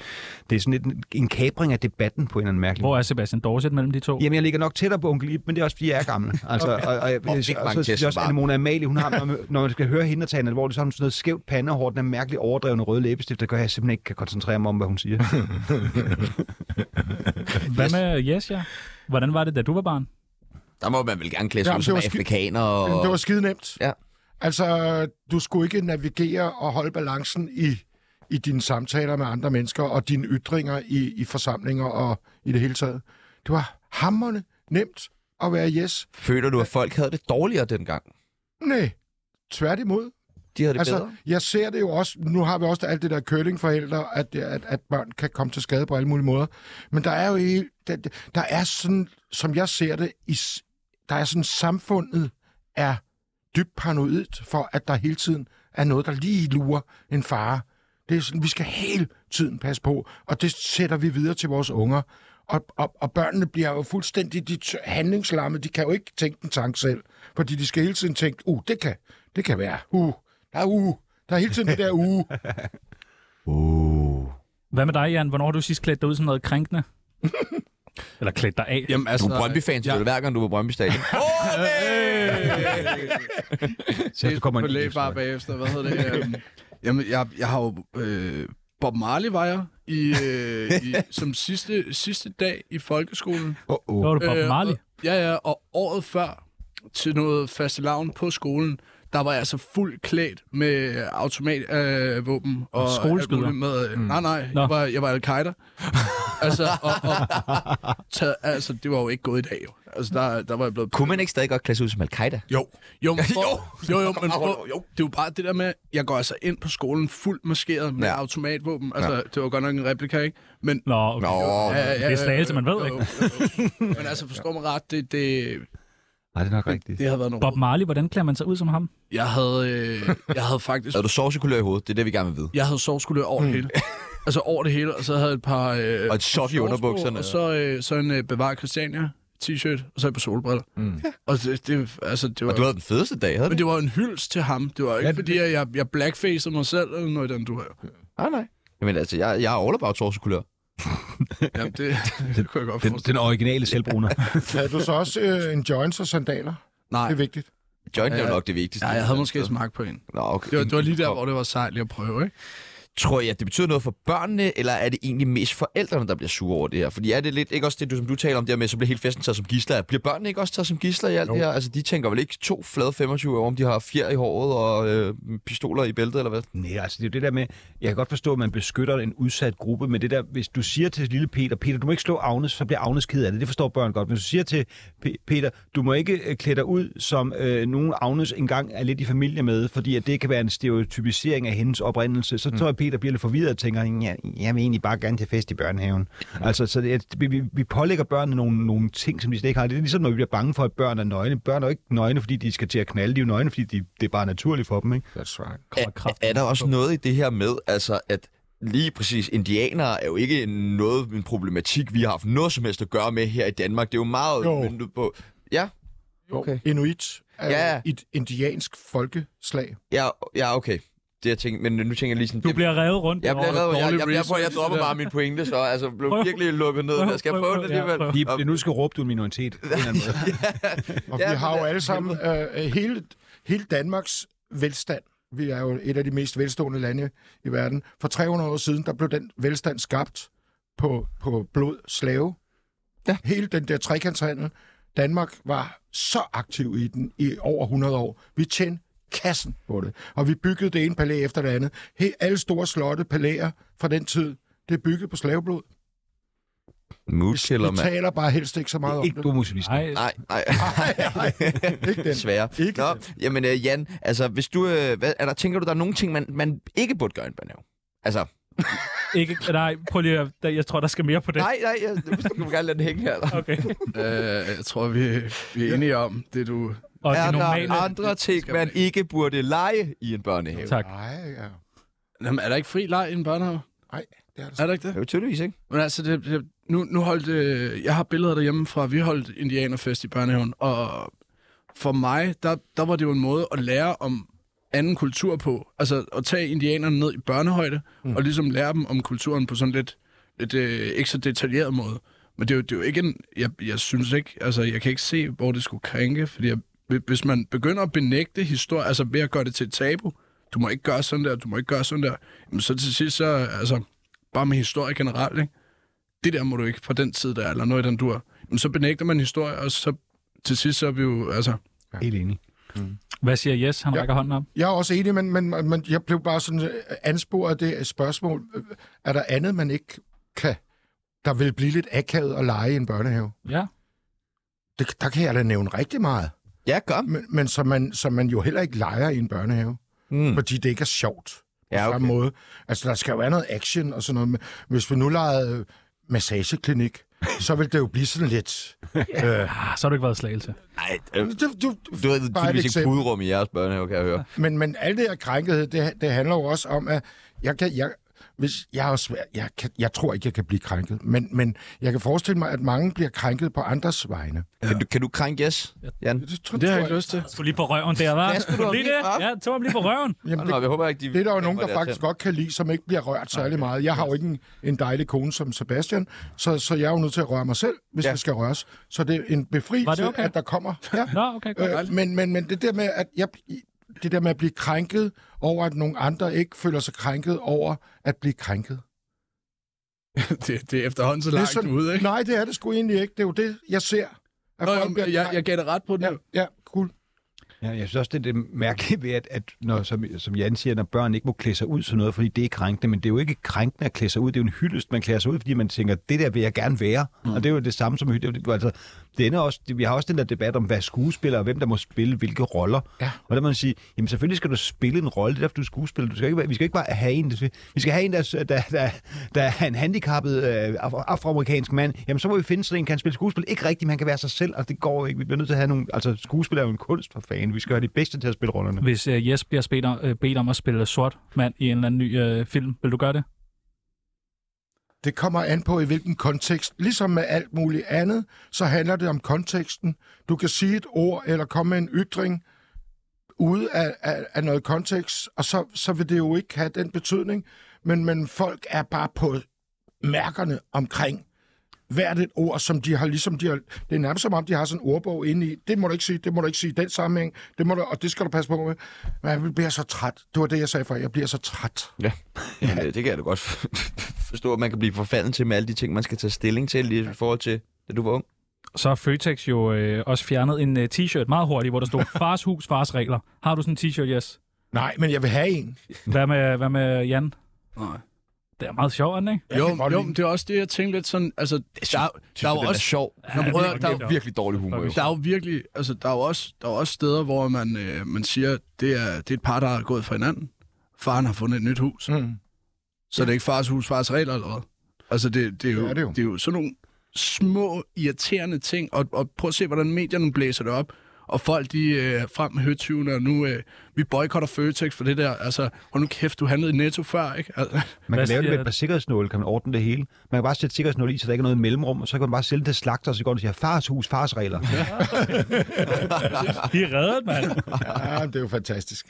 [SPEAKER 5] det er sådan lidt en, en kapring af debatten på en eller anden mærkelig
[SPEAKER 2] Hvor er Sebastian Dorset mellem de to?
[SPEAKER 5] Jamen, jeg ligger nok tættere på onkel Ip, men det er også, fordi jeg er gammel. Altså, okay. og, og, jeg-
[SPEAKER 1] Og fik
[SPEAKER 5] og
[SPEAKER 1] mange
[SPEAKER 5] så synes
[SPEAKER 1] tæsk
[SPEAKER 5] jeg også,
[SPEAKER 1] bare.
[SPEAKER 5] at Mona Amalie, hun har, når man- når man skal høre hende og tage en alvorlig, så har hun sådan noget skævt pandehår, den er mærkelig overdrevne røde læbestift, der gør, at jeg simpelthen ikke kan koncentrere mig om, hvad hun siger.
[SPEAKER 2] Hvad med Yes, ja? Hvordan var det, da du var barn?
[SPEAKER 1] Der må man vel gerne klæde sig
[SPEAKER 3] Jamen,
[SPEAKER 1] ud
[SPEAKER 3] det
[SPEAKER 1] som
[SPEAKER 3] var ski-
[SPEAKER 1] afrikaner. Og...
[SPEAKER 3] Men det var skide nemt.
[SPEAKER 1] Ja.
[SPEAKER 3] Altså, du skulle ikke navigere og holde balancen i, i dine samtaler med andre mennesker og dine ytringer i, i forsamlinger og i det hele taget. Det var hammerne nemt at være yes.
[SPEAKER 1] Føler du, at folk havde det dårligere dengang?
[SPEAKER 3] Nej, tværtimod.
[SPEAKER 1] De havde det altså,
[SPEAKER 3] Altså,
[SPEAKER 1] bedre?
[SPEAKER 3] jeg ser det jo også, nu har vi også alt det der curlingforældre, at, at, at børn kan komme til skade på alle mulige måder. Men der er jo i, der, der er sådan, som jeg ser det, i, s- der er sådan, samfundet er dybt paranoidt for, at der hele tiden er noget, der lige lurer en fare. Det er sådan, vi skal hele tiden passe på, og det sætter vi videre til vores unger. Og, og, og børnene bliver jo fuldstændig de tø- handlingslamme. De kan jo ikke tænke en tanke selv, fordi de skal hele tiden tænke, uh, det kan, det kan være, uh, der er uh, der er hele tiden det der uh." uge.
[SPEAKER 2] Hvad med dig, Jan? Hvornår har du sidst klædt dig ud som noget krænkende? Eller klædt dig af?
[SPEAKER 6] Jamen,
[SPEAKER 1] Du
[SPEAKER 6] altså,
[SPEAKER 1] er Brøndby-fan, ja.
[SPEAKER 6] jeg-
[SPEAKER 1] hver gang du var Brøndby Stadion.
[SPEAKER 5] så
[SPEAKER 6] Det
[SPEAKER 5] kommer
[SPEAKER 6] kommer på
[SPEAKER 5] en is,
[SPEAKER 6] lægebar bagefter, hvad hedder det? øhm, Jamen, jeg, jeg har jo... Øh, Bob Marley var jeg i, øh, i, som sidste, sidste dag i folkeskolen.
[SPEAKER 2] Hvor var du Bob Marley?
[SPEAKER 6] Øh, og, ja, ja, og året før til noget fastelavn på skolen, der var jeg altså fuldt klædt med automatvåben. Øh, våben og alt
[SPEAKER 2] skoleskyder.
[SPEAKER 6] muligt Med, mm. Nej, nej,
[SPEAKER 2] Nå.
[SPEAKER 6] jeg var, jeg var al-Qaida. altså, og, og, taget, altså, det var jo ikke gået i dag. jo. Altså, der, der var jeg blevet
[SPEAKER 1] Kunne man ikke stadig godt klæde sig ud som Al-Qaida?
[SPEAKER 6] jo. Jo, men prøv,
[SPEAKER 1] Jo.
[SPEAKER 6] jo, jo, men
[SPEAKER 1] Jo,
[SPEAKER 6] prøv,
[SPEAKER 1] jo.
[SPEAKER 6] jo. det er jo bare det der med, jeg går altså ind på skolen fuldt maskeret med
[SPEAKER 1] Ja.
[SPEAKER 6] ja. automatvåben. Altså, ja. det var godt nok en replika, ikke? Men,
[SPEAKER 2] Nå, okay.
[SPEAKER 1] Nå,
[SPEAKER 2] det er slagelse, man ved, ikke?
[SPEAKER 6] ikke? Men altså, forstå mig ret, det, det,
[SPEAKER 5] Nej, det er nok rigtigt.
[SPEAKER 6] det har været noget.
[SPEAKER 2] Bob Marley, hvordan klæder man sig ud som ham?
[SPEAKER 6] Jeg havde, øh, jeg havde faktisk...
[SPEAKER 1] Er du sovsekulør i hovedet? Det er det, vi gerne vil vide.
[SPEAKER 6] Jeg havde sovskulør over det hele. Altså over det hele, og så havde jeg et par... Øh,
[SPEAKER 1] Og et sok i
[SPEAKER 6] shorts på,
[SPEAKER 1] underbukserne.
[SPEAKER 6] Og så, øh, så en øh, bevar Christiania t-shirt, og så et par solbriller. Mm.
[SPEAKER 1] Hmm.
[SPEAKER 6] Og det, det, altså, det var...
[SPEAKER 1] Og du havde den fedeste dag, havde du?
[SPEAKER 6] Men
[SPEAKER 1] ikke?
[SPEAKER 6] det var jo en hyldest til ham. Det var jo ikke, ja,
[SPEAKER 5] Ja, det-
[SPEAKER 6] fordi at jeg, jeg blackfacede mig selv, eller noget i den, du har.
[SPEAKER 1] Nej, nej. Jamen altså, jeg, jeg er all about sovsekulør.
[SPEAKER 6] Jamen, det, det kunne jeg godt
[SPEAKER 5] Den,
[SPEAKER 6] forstå.
[SPEAKER 5] den originale selvbruner.
[SPEAKER 3] Havde du så også øh, en joints og sandaler?
[SPEAKER 6] Nej,
[SPEAKER 3] Det er vigtigt.
[SPEAKER 1] Joint er jo nok det vigtigste.
[SPEAKER 6] Ja, jeg havde måske smagt på en.
[SPEAKER 1] Nå, okay.
[SPEAKER 6] Det var, det var lige der, hvor det var sejt lige at prøve, ikke?
[SPEAKER 1] Tror jeg, at det betyder noget for børnene, eller er det egentlig mest forældrene, der bliver sure over det her? Fordi er det lidt, ikke også det, du, som du taler om der med, så bliver hele festen taget som gidsler. Bliver børnene ikke også taget som gidsler i alt det her? Altså, de tænker vel ikke to flade 25 år, om de har fjer i håret og øh, pistoler i bæltet, eller hvad?
[SPEAKER 5] Nej, altså det er jo det der med, jeg kan godt forstå, at man beskytter en udsat gruppe, men det der, hvis du siger til lille Peter, Peter, du må ikke slå Agnes, så bliver Agnes ked af det. Det forstår børn godt. Men hvis du siger til P- Peter, du må ikke øh, klæde dig ud, som øh, nogen Agnes engang er lidt i familie med, fordi at det kan være en stereotypisering af hendes oprindelse, så tror jeg, Peter bliver lidt forvirret og tænker, ja, jeg vil egentlig bare gerne til fest i børnehaven. Altså, så det, er- vi, vi, vi pålægger børnene nogle, nogle ting, som de slet ikke har. Det er ligesom, når vi bliver bange for, at børn er nøgne. Børn er jo ikke nøgne, fordi de skal til at knalde. De er jo nøgne, fordi de, det er bare naturligt for dem, ikke?
[SPEAKER 3] That's right.
[SPEAKER 2] Kommer
[SPEAKER 1] Er, er der også noget i det her med, altså at lige præcis indianere er jo ikke noget en problematik, vi har haft noget som helst at gøre med her i Danmark. Det er jo meget
[SPEAKER 3] Jo.
[SPEAKER 1] møntet på... Ja, Okay.
[SPEAKER 3] Okay. Inuit er
[SPEAKER 1] Ja, ja.
[SPEAKER 3] ja. et indiansk folkeslag.
[SPEAKER 1] ja, ja okay. Det jeg tænker, men nu tænker jeg lige sådan...
[SPEAKER 2] Du bliver revet rundt.
[SPEAKER 1] jeg bliver
[SPEAKER 2] derovre.
[SPEAKER 1] lavet, jeg, jeg,
[SPEAKER 6] dårlig
[SPEAKER 1] jeg, jeg, prøver, jeg
[SPEAKER 6] research,
[SPEAKER 1] dropper
[SPEAKER 6] det der.
[SPEAKER 1] bare min pointe, så altså blev
[SPEAKER 2] Prøv.
[SPEAKER 1] virkelig lukket ned. Jeg skal jeg prøve det
[SPEAKER 2] Ja,
[SPEAKER 1] alligevel.
[SPEAKER 2] prøv.
[SPEAKER 5] De, det er nu skal råbe du en minoritet. på en eller anden måde.
[SPEAKER 3] Og
[SPEAKER 1] Ja,
[SPEAKER 3] ja, vi har
[SPEAKER 1] men
[SPEAKER 3] jo
[SPEAKER 1] det-
[SPEAKER 3] alle sammen øh, hele, hele Danmarks velstand. Vi er jo et af de mest velstående lande i verden. For 300 år siden, der blev den velstand skabt på, på blod slave. Ja. Hele den der trekantshandel. Danmark var så aktiv i den i over 100 år. Vi tjente kassen på det. Og vi byggede det ene palæ efter det andet. He, alle store slotte, palæer fra den tid, det er bygget på slaveblod.
[SPEAKER 1] Moodkiller,
[SPEAKER 3] Vi taler bare helst ikke så meget om
[SPEAKER 5] Ikke
[SPEAKER 3] det.
[SPEAKER 5] du er motionist.
[SPEAKER 2] Nej,
[SPEAKER 1] Nej, nej.
[SPEAKER 3] Ikke den.
[SPEAKER 1] Desværre.
[SPEAKER 3] Ikke
[SPEAKER 1] Nå, jamen øh, Jan, altså hvis du... Øh, hvad, er der, tænker du, der er nogle ting, man, man ikke burde gøre i en børnehave? Altså,
[SPEAKER 2] ikke, nej, prøv lige, at- der- jeg tror, der skal mere på det.
[SPEAKER 1] nej, nej, jeg, du må gerne lade den hænge her. Eller?
[SPEAKER 2] Okay.
[SPEAKER 6] Øh, jeg tror, vi, vi er enige om det, du...
[SPEAKER 2] Og
[SPEAKER 1] er
[SPEAKER 2] de
[SPEAKER 1] der
[SPEAKER 2] normale...
[SPEAKER 1] andre ting,
[SPEAKER 6] Skal man
[SPEAKER 1] man ikke burde lege i en børnehave?
[SPEAKER 2] Tak.
[SPEAKER 3] Nej, ja.
[SPEAKER 6] Jamen, er der ikke fri leg i en børnehave?
[SPEAKER 3] Nej, det er det
[SPEAKER 6] Er der ikke det?
[SPEAKER 1] jo tydeligvis, ikke?
[SPEAKER 6] Men altså, det, det, nu, nu holdt... Øh, jeg har billeder derhjemme fra, vi holdt indianerfest i børnehaven, og for mig, der, der var det jo en måde at lære om anden kultur på. Altså at tage indianerne ned i børnehøjde, mm. og ligesom lære dem om kulturen på sådan lidt, lidt øh, ikke så detaljeret måde. Men det er jo, det er jo ikke en... Jeg, jeg synes ikke... Altså, jeg kan ikke se, hvor det skulle krænke, fordi jeg, hvis man begynder at benægte historie, altså ved at gøre det til et tabu, du må ikke gøre sådan der, du må ikke gøre sådan der, jamen så til sidst, så altså, bare med historie generelt, ikke? det der må du ikke fra den tid der, eller noget i den dur. Men så benægter man historie, og så til sidst så er vi jo, altså...
[SPEAKER 5] Helt enig.
[SPEAKER 2] Hvad siger Jes? Han
[SPEAKER 3] Ja.
[SPEAKER 2] rækker hånden op.
[SPEAKER 3] Jeg er også enig, men, men, men jeg blev bare sådan øh, ansporet af det spørgsmål. Øh, Er der andet, man ikke kan, der vil blive lidt akavet at lege i en børnehave?
[SPEAKER 2] Ja.
[SPEAKER 3] Det, der kan jeg da nævne rigtig meget,
[SPEAKER 1] Ja, gør.
[SPEAKER 3] men, men som, man, som man jo heller ikke leger i en børnehave,
[SPEAKER 1] Mm.
[SPEAKER 3] mm. fordi det ikke er sjovt på
[SPEAKER 1] Ja,
[SPEAKER 3] ja, okay. samme
[SPEAKER 1] okay.
[SPEAKER 3] måde. Altså, der skal jo være noget action og sådan noget. men Hvis vi nu legede øh, massageklinik, så vil det jo blive sådan lidt... øh,
[SPEAKER 2] Ah, så har du ikke været i slagelse.
[SPEAKER 1] Nej, øh,
[SPEAKER 3] det, du,
[SPEAKER 1] du ved
[SPEAKER 3] Bare et
[SPEAKER 1] tydeligvis ikke
[SPEAKER 3] eksempel.
[SPEAKER 1] puderum i jeres børnehave, kan jeg høre.
[SPEAKER 3] Men, men alt det her krænkethed, det, det handler jo også om, at jeg kan... Jeg, hvis jeg, er svær, jeg, kan, jeg tror ikke, jeg kan blive krænket, men, men jeg kan forestille mig, at mange bliver krænket på andres vegne.
[SPEAKER 1] Kan, du, kan du krænke yes, Jan?
[SPEAKER 3] Det, tror,
[SPEAKER 6] Det har jeg ikke lyst til.
[SPEAKER 2] Du lige på røven der, var.
[SPEAKER 1] Ja, skulle du
[SPEAKER 2] lige
[SPEAKER 1] lige
[SPEAKER 2] det?
[SPEAKER 1] op?
[SPEAKER 2] Ja, tog ham lige på røven.
[SPEAKER 3] Jamen,
[SPEAKER 1] Nå,
[SPEAKER 3] det,
[SPEAKER 1] jeg håber ikke, de
[SPEAKER 3] det er der jo nogen,
[SPEAKER 1] kommer
[SPEAKER 3] der faktisk
[SPEAKER 1] dertil.
[SPEAKER 3] godt kan lide, som ikke bliver rørt særlig meget. Jeg har jo ikke en, en dejlig kone som Sebastian, så, så jeg er jo nødt til at røre mig selv, hvis
[SPEAKER 1] Ja.
[SPEAKER 3] ja. jeg skal røres. Så det er en
[SPEAKER 2] Var det
[SPEAKER 3] befrielse,
[SPEAKER 2] okay?
[SPEAKER 3] okay? at der kommer... Ja.
[SPEAKER 2] Nå, okay, godt.
[SPEAKER 3] Øh, men, men, men det der med, at jeg, det der med at blive krænket over, at nogle andre ikke føler sig krænket over at blive krænket.
[SPEAKER 6] det, det er efterhånden så langt
[SPEAKER 3] det er sådan-
[SPEAKER 6] ude, ikke?
[SPEAKER 3] Nej, det er det sgu egentlig ikke. Det er jo det, jeg ser. At
[SPEAKER 6] Nå,
[SPEAKER 3] folk
[SPEAKER 6] jeg,
[SPEAKER 3] bliver
[SPEAKER 6] jeg, jeg
[SPEAKER 3] krænket.
[SPEAKER 6] gav det ret på den. Ja.
[SPEAKER 3] Ja, ja, cool.
[SPEAKER 5] Ja, jeg synes også, det er det mærkelige ved, at, at når, som, som Jan siger, når børn ikke må klæde sig ud sådan noget, fordi det er krænkende, men det er jo ikke krænkende at klæde sig ud, det er jo en hyldest, man klæder sig ud, fordi man tænker, det der vil jeg gerne være, mm. og det er jo det samme som hylde. det er jo- Altså, det ender også, det, vi har også den der debat om, hvad skuespillere, og hvem der må spille hvilke roller, ja. og der må man sige, jamen selvfølgelig skal du spille en rolle, det er derfor, du er skuespiller, du skal ikke, være- vi skal ikke bare have en, der- vi skal have en, der, der, der, der er en handicappet øh, af- afroamerikansk mand, jamen så må vi finde sådan en, kan han spille skuespil, ikke rigtigt, men han kan være sig selv, og det går jo ikke, vi bliver nødt til at have nogle, altså skuespil er jo en kunst for fanden, vi skal have de bedste til at spille rollerne.
[SPEAKER 2] Hvis uh, Jes bliver bedt om, uh, bedt om at spille sort mand i en eller anden ny uh, film, vil du gøre det?
[SPEAKER 3] Det kommer an på, i hvilken kontekst. Ligesom med alt muligt andet, så handler det om konteksten. Du kan sige et ord eller komme med en ytring ude af, af, af noget kontekst, og så, så vil det jo ikke have den betydning. Men, men folk er bare på mærkerne omkring hvert et ord, som de har ligesom... De har, det er nærmest som om, de har sådan en ordbog inde i. Det må du ikke sige, det må du ikke sige i den sammenhæng, det må du, og det skal du passe på med. Men jeg bliver så træt. Det var det, jeg sagde før. Jeg bliver så træt.
[SPEAKER 1] Ja, Jamen, øh, det kan jeg da godt forstå, at man kan blive forfaldet til med alle de ting, man skal tage stilling til i forhold til, da du var ung.
[SPEAKER 2] Så har Føtex jo øh, også fjernet en øh, t-shirt meget hurtigt, hvor der stod fars hus, fars regler. Har du sådan en t-shirt, Jes?
[SPEAKER 3] Nej, men jeg vil have en.
[SPEAKER 2] Hvad med, hvad med Jan?
[SPEAKER 6] Nej.
[SPEAKER 2] Det er meget sjovt, ikke?
[SPEAKER 3] Jeg kan
[SPEAKER 6] Jo,
[SPEAKER 3] godt
[SPEAKER 6] jo,
[SPEAKER 3] lide
[SPEAKER 6] men det er også det, jeg tænkte lidt sådan, altså, der, der er jo
[SPEAKER 1] den er
[SPEAKER 6] også,
[SPEAKER 1] sjov.
[SPEAKER 6] Nå, men prøv at-
[SPEAKER 2] virkelig
[SPEAKER 6] der er jo-
[SPEAKER 1] Det er virkelig dårlig humor. Jo.
[SPEAKER 6] der er jo virkelig, altså, der er jo også, der er jo også steder, hvor man, øh, man siger, det er, det er et par, der er gået fra hinanden. Faren har fundet et nyt hus.
[SPEAKER 3] Mm.
[SPEAKER 6] Så det er ikke fars hus, fars regler eller hvad? Altså, det, det, er, jo,
[SPEAKER 3] Det er det jo.
[SPEAKER 6] det er jo sådan nogle små, irriterende ting, og, og prøv at se, hvordan medierne blæser det op. Og folk, de øh, er frem med høtyvene, og nu, øh, vi boykotter Føtex for det der. Altså, hold nu kæft, du handlede i Netto før, ikke? Altså,
[SPEAKER 5] Man
[SPEAKER 2] Hvad
[SPEAKER 5] kan lave det
[SPEAKER 2] siger-
[SPEAKER 5] med et par sikkerhedsnåle, kan man ordne det hele. Man kan bare sætte sikkerhedsnåle i, så der ikke er noget mellemrum, og så kan man bare sælge det til slagter, og så går man og siger, fars hus, fars regler.
[SPEAKER 2] De er reddet, mand.
[SPEAKER 3] Ja, det er jo fantastisk.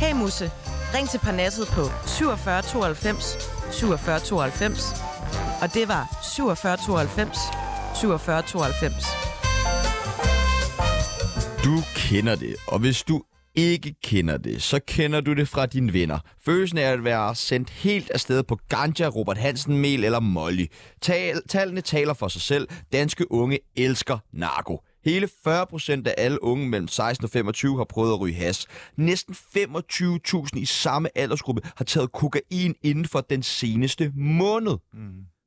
[SPEAKER 4] Hey Musse, ring til Parnasset på 47 92 47 92. Og det var 47 92 47 92.
[SPEAKER 1] Du kender det, og hvis du ikke kender det, så kender du det fra dine venner. Følelsen af at være sendt helt afsted på ganja, Robert Hansen, mel eller molly. Tal, tallene taler for sig selv. Danske unge elsker narko. Hele 40% af alle unge mellem 16 og 25 har prøvet at ryge has. Næsten 25.000 i samme aldersgruppe har taget kokain inden for den seneste måned.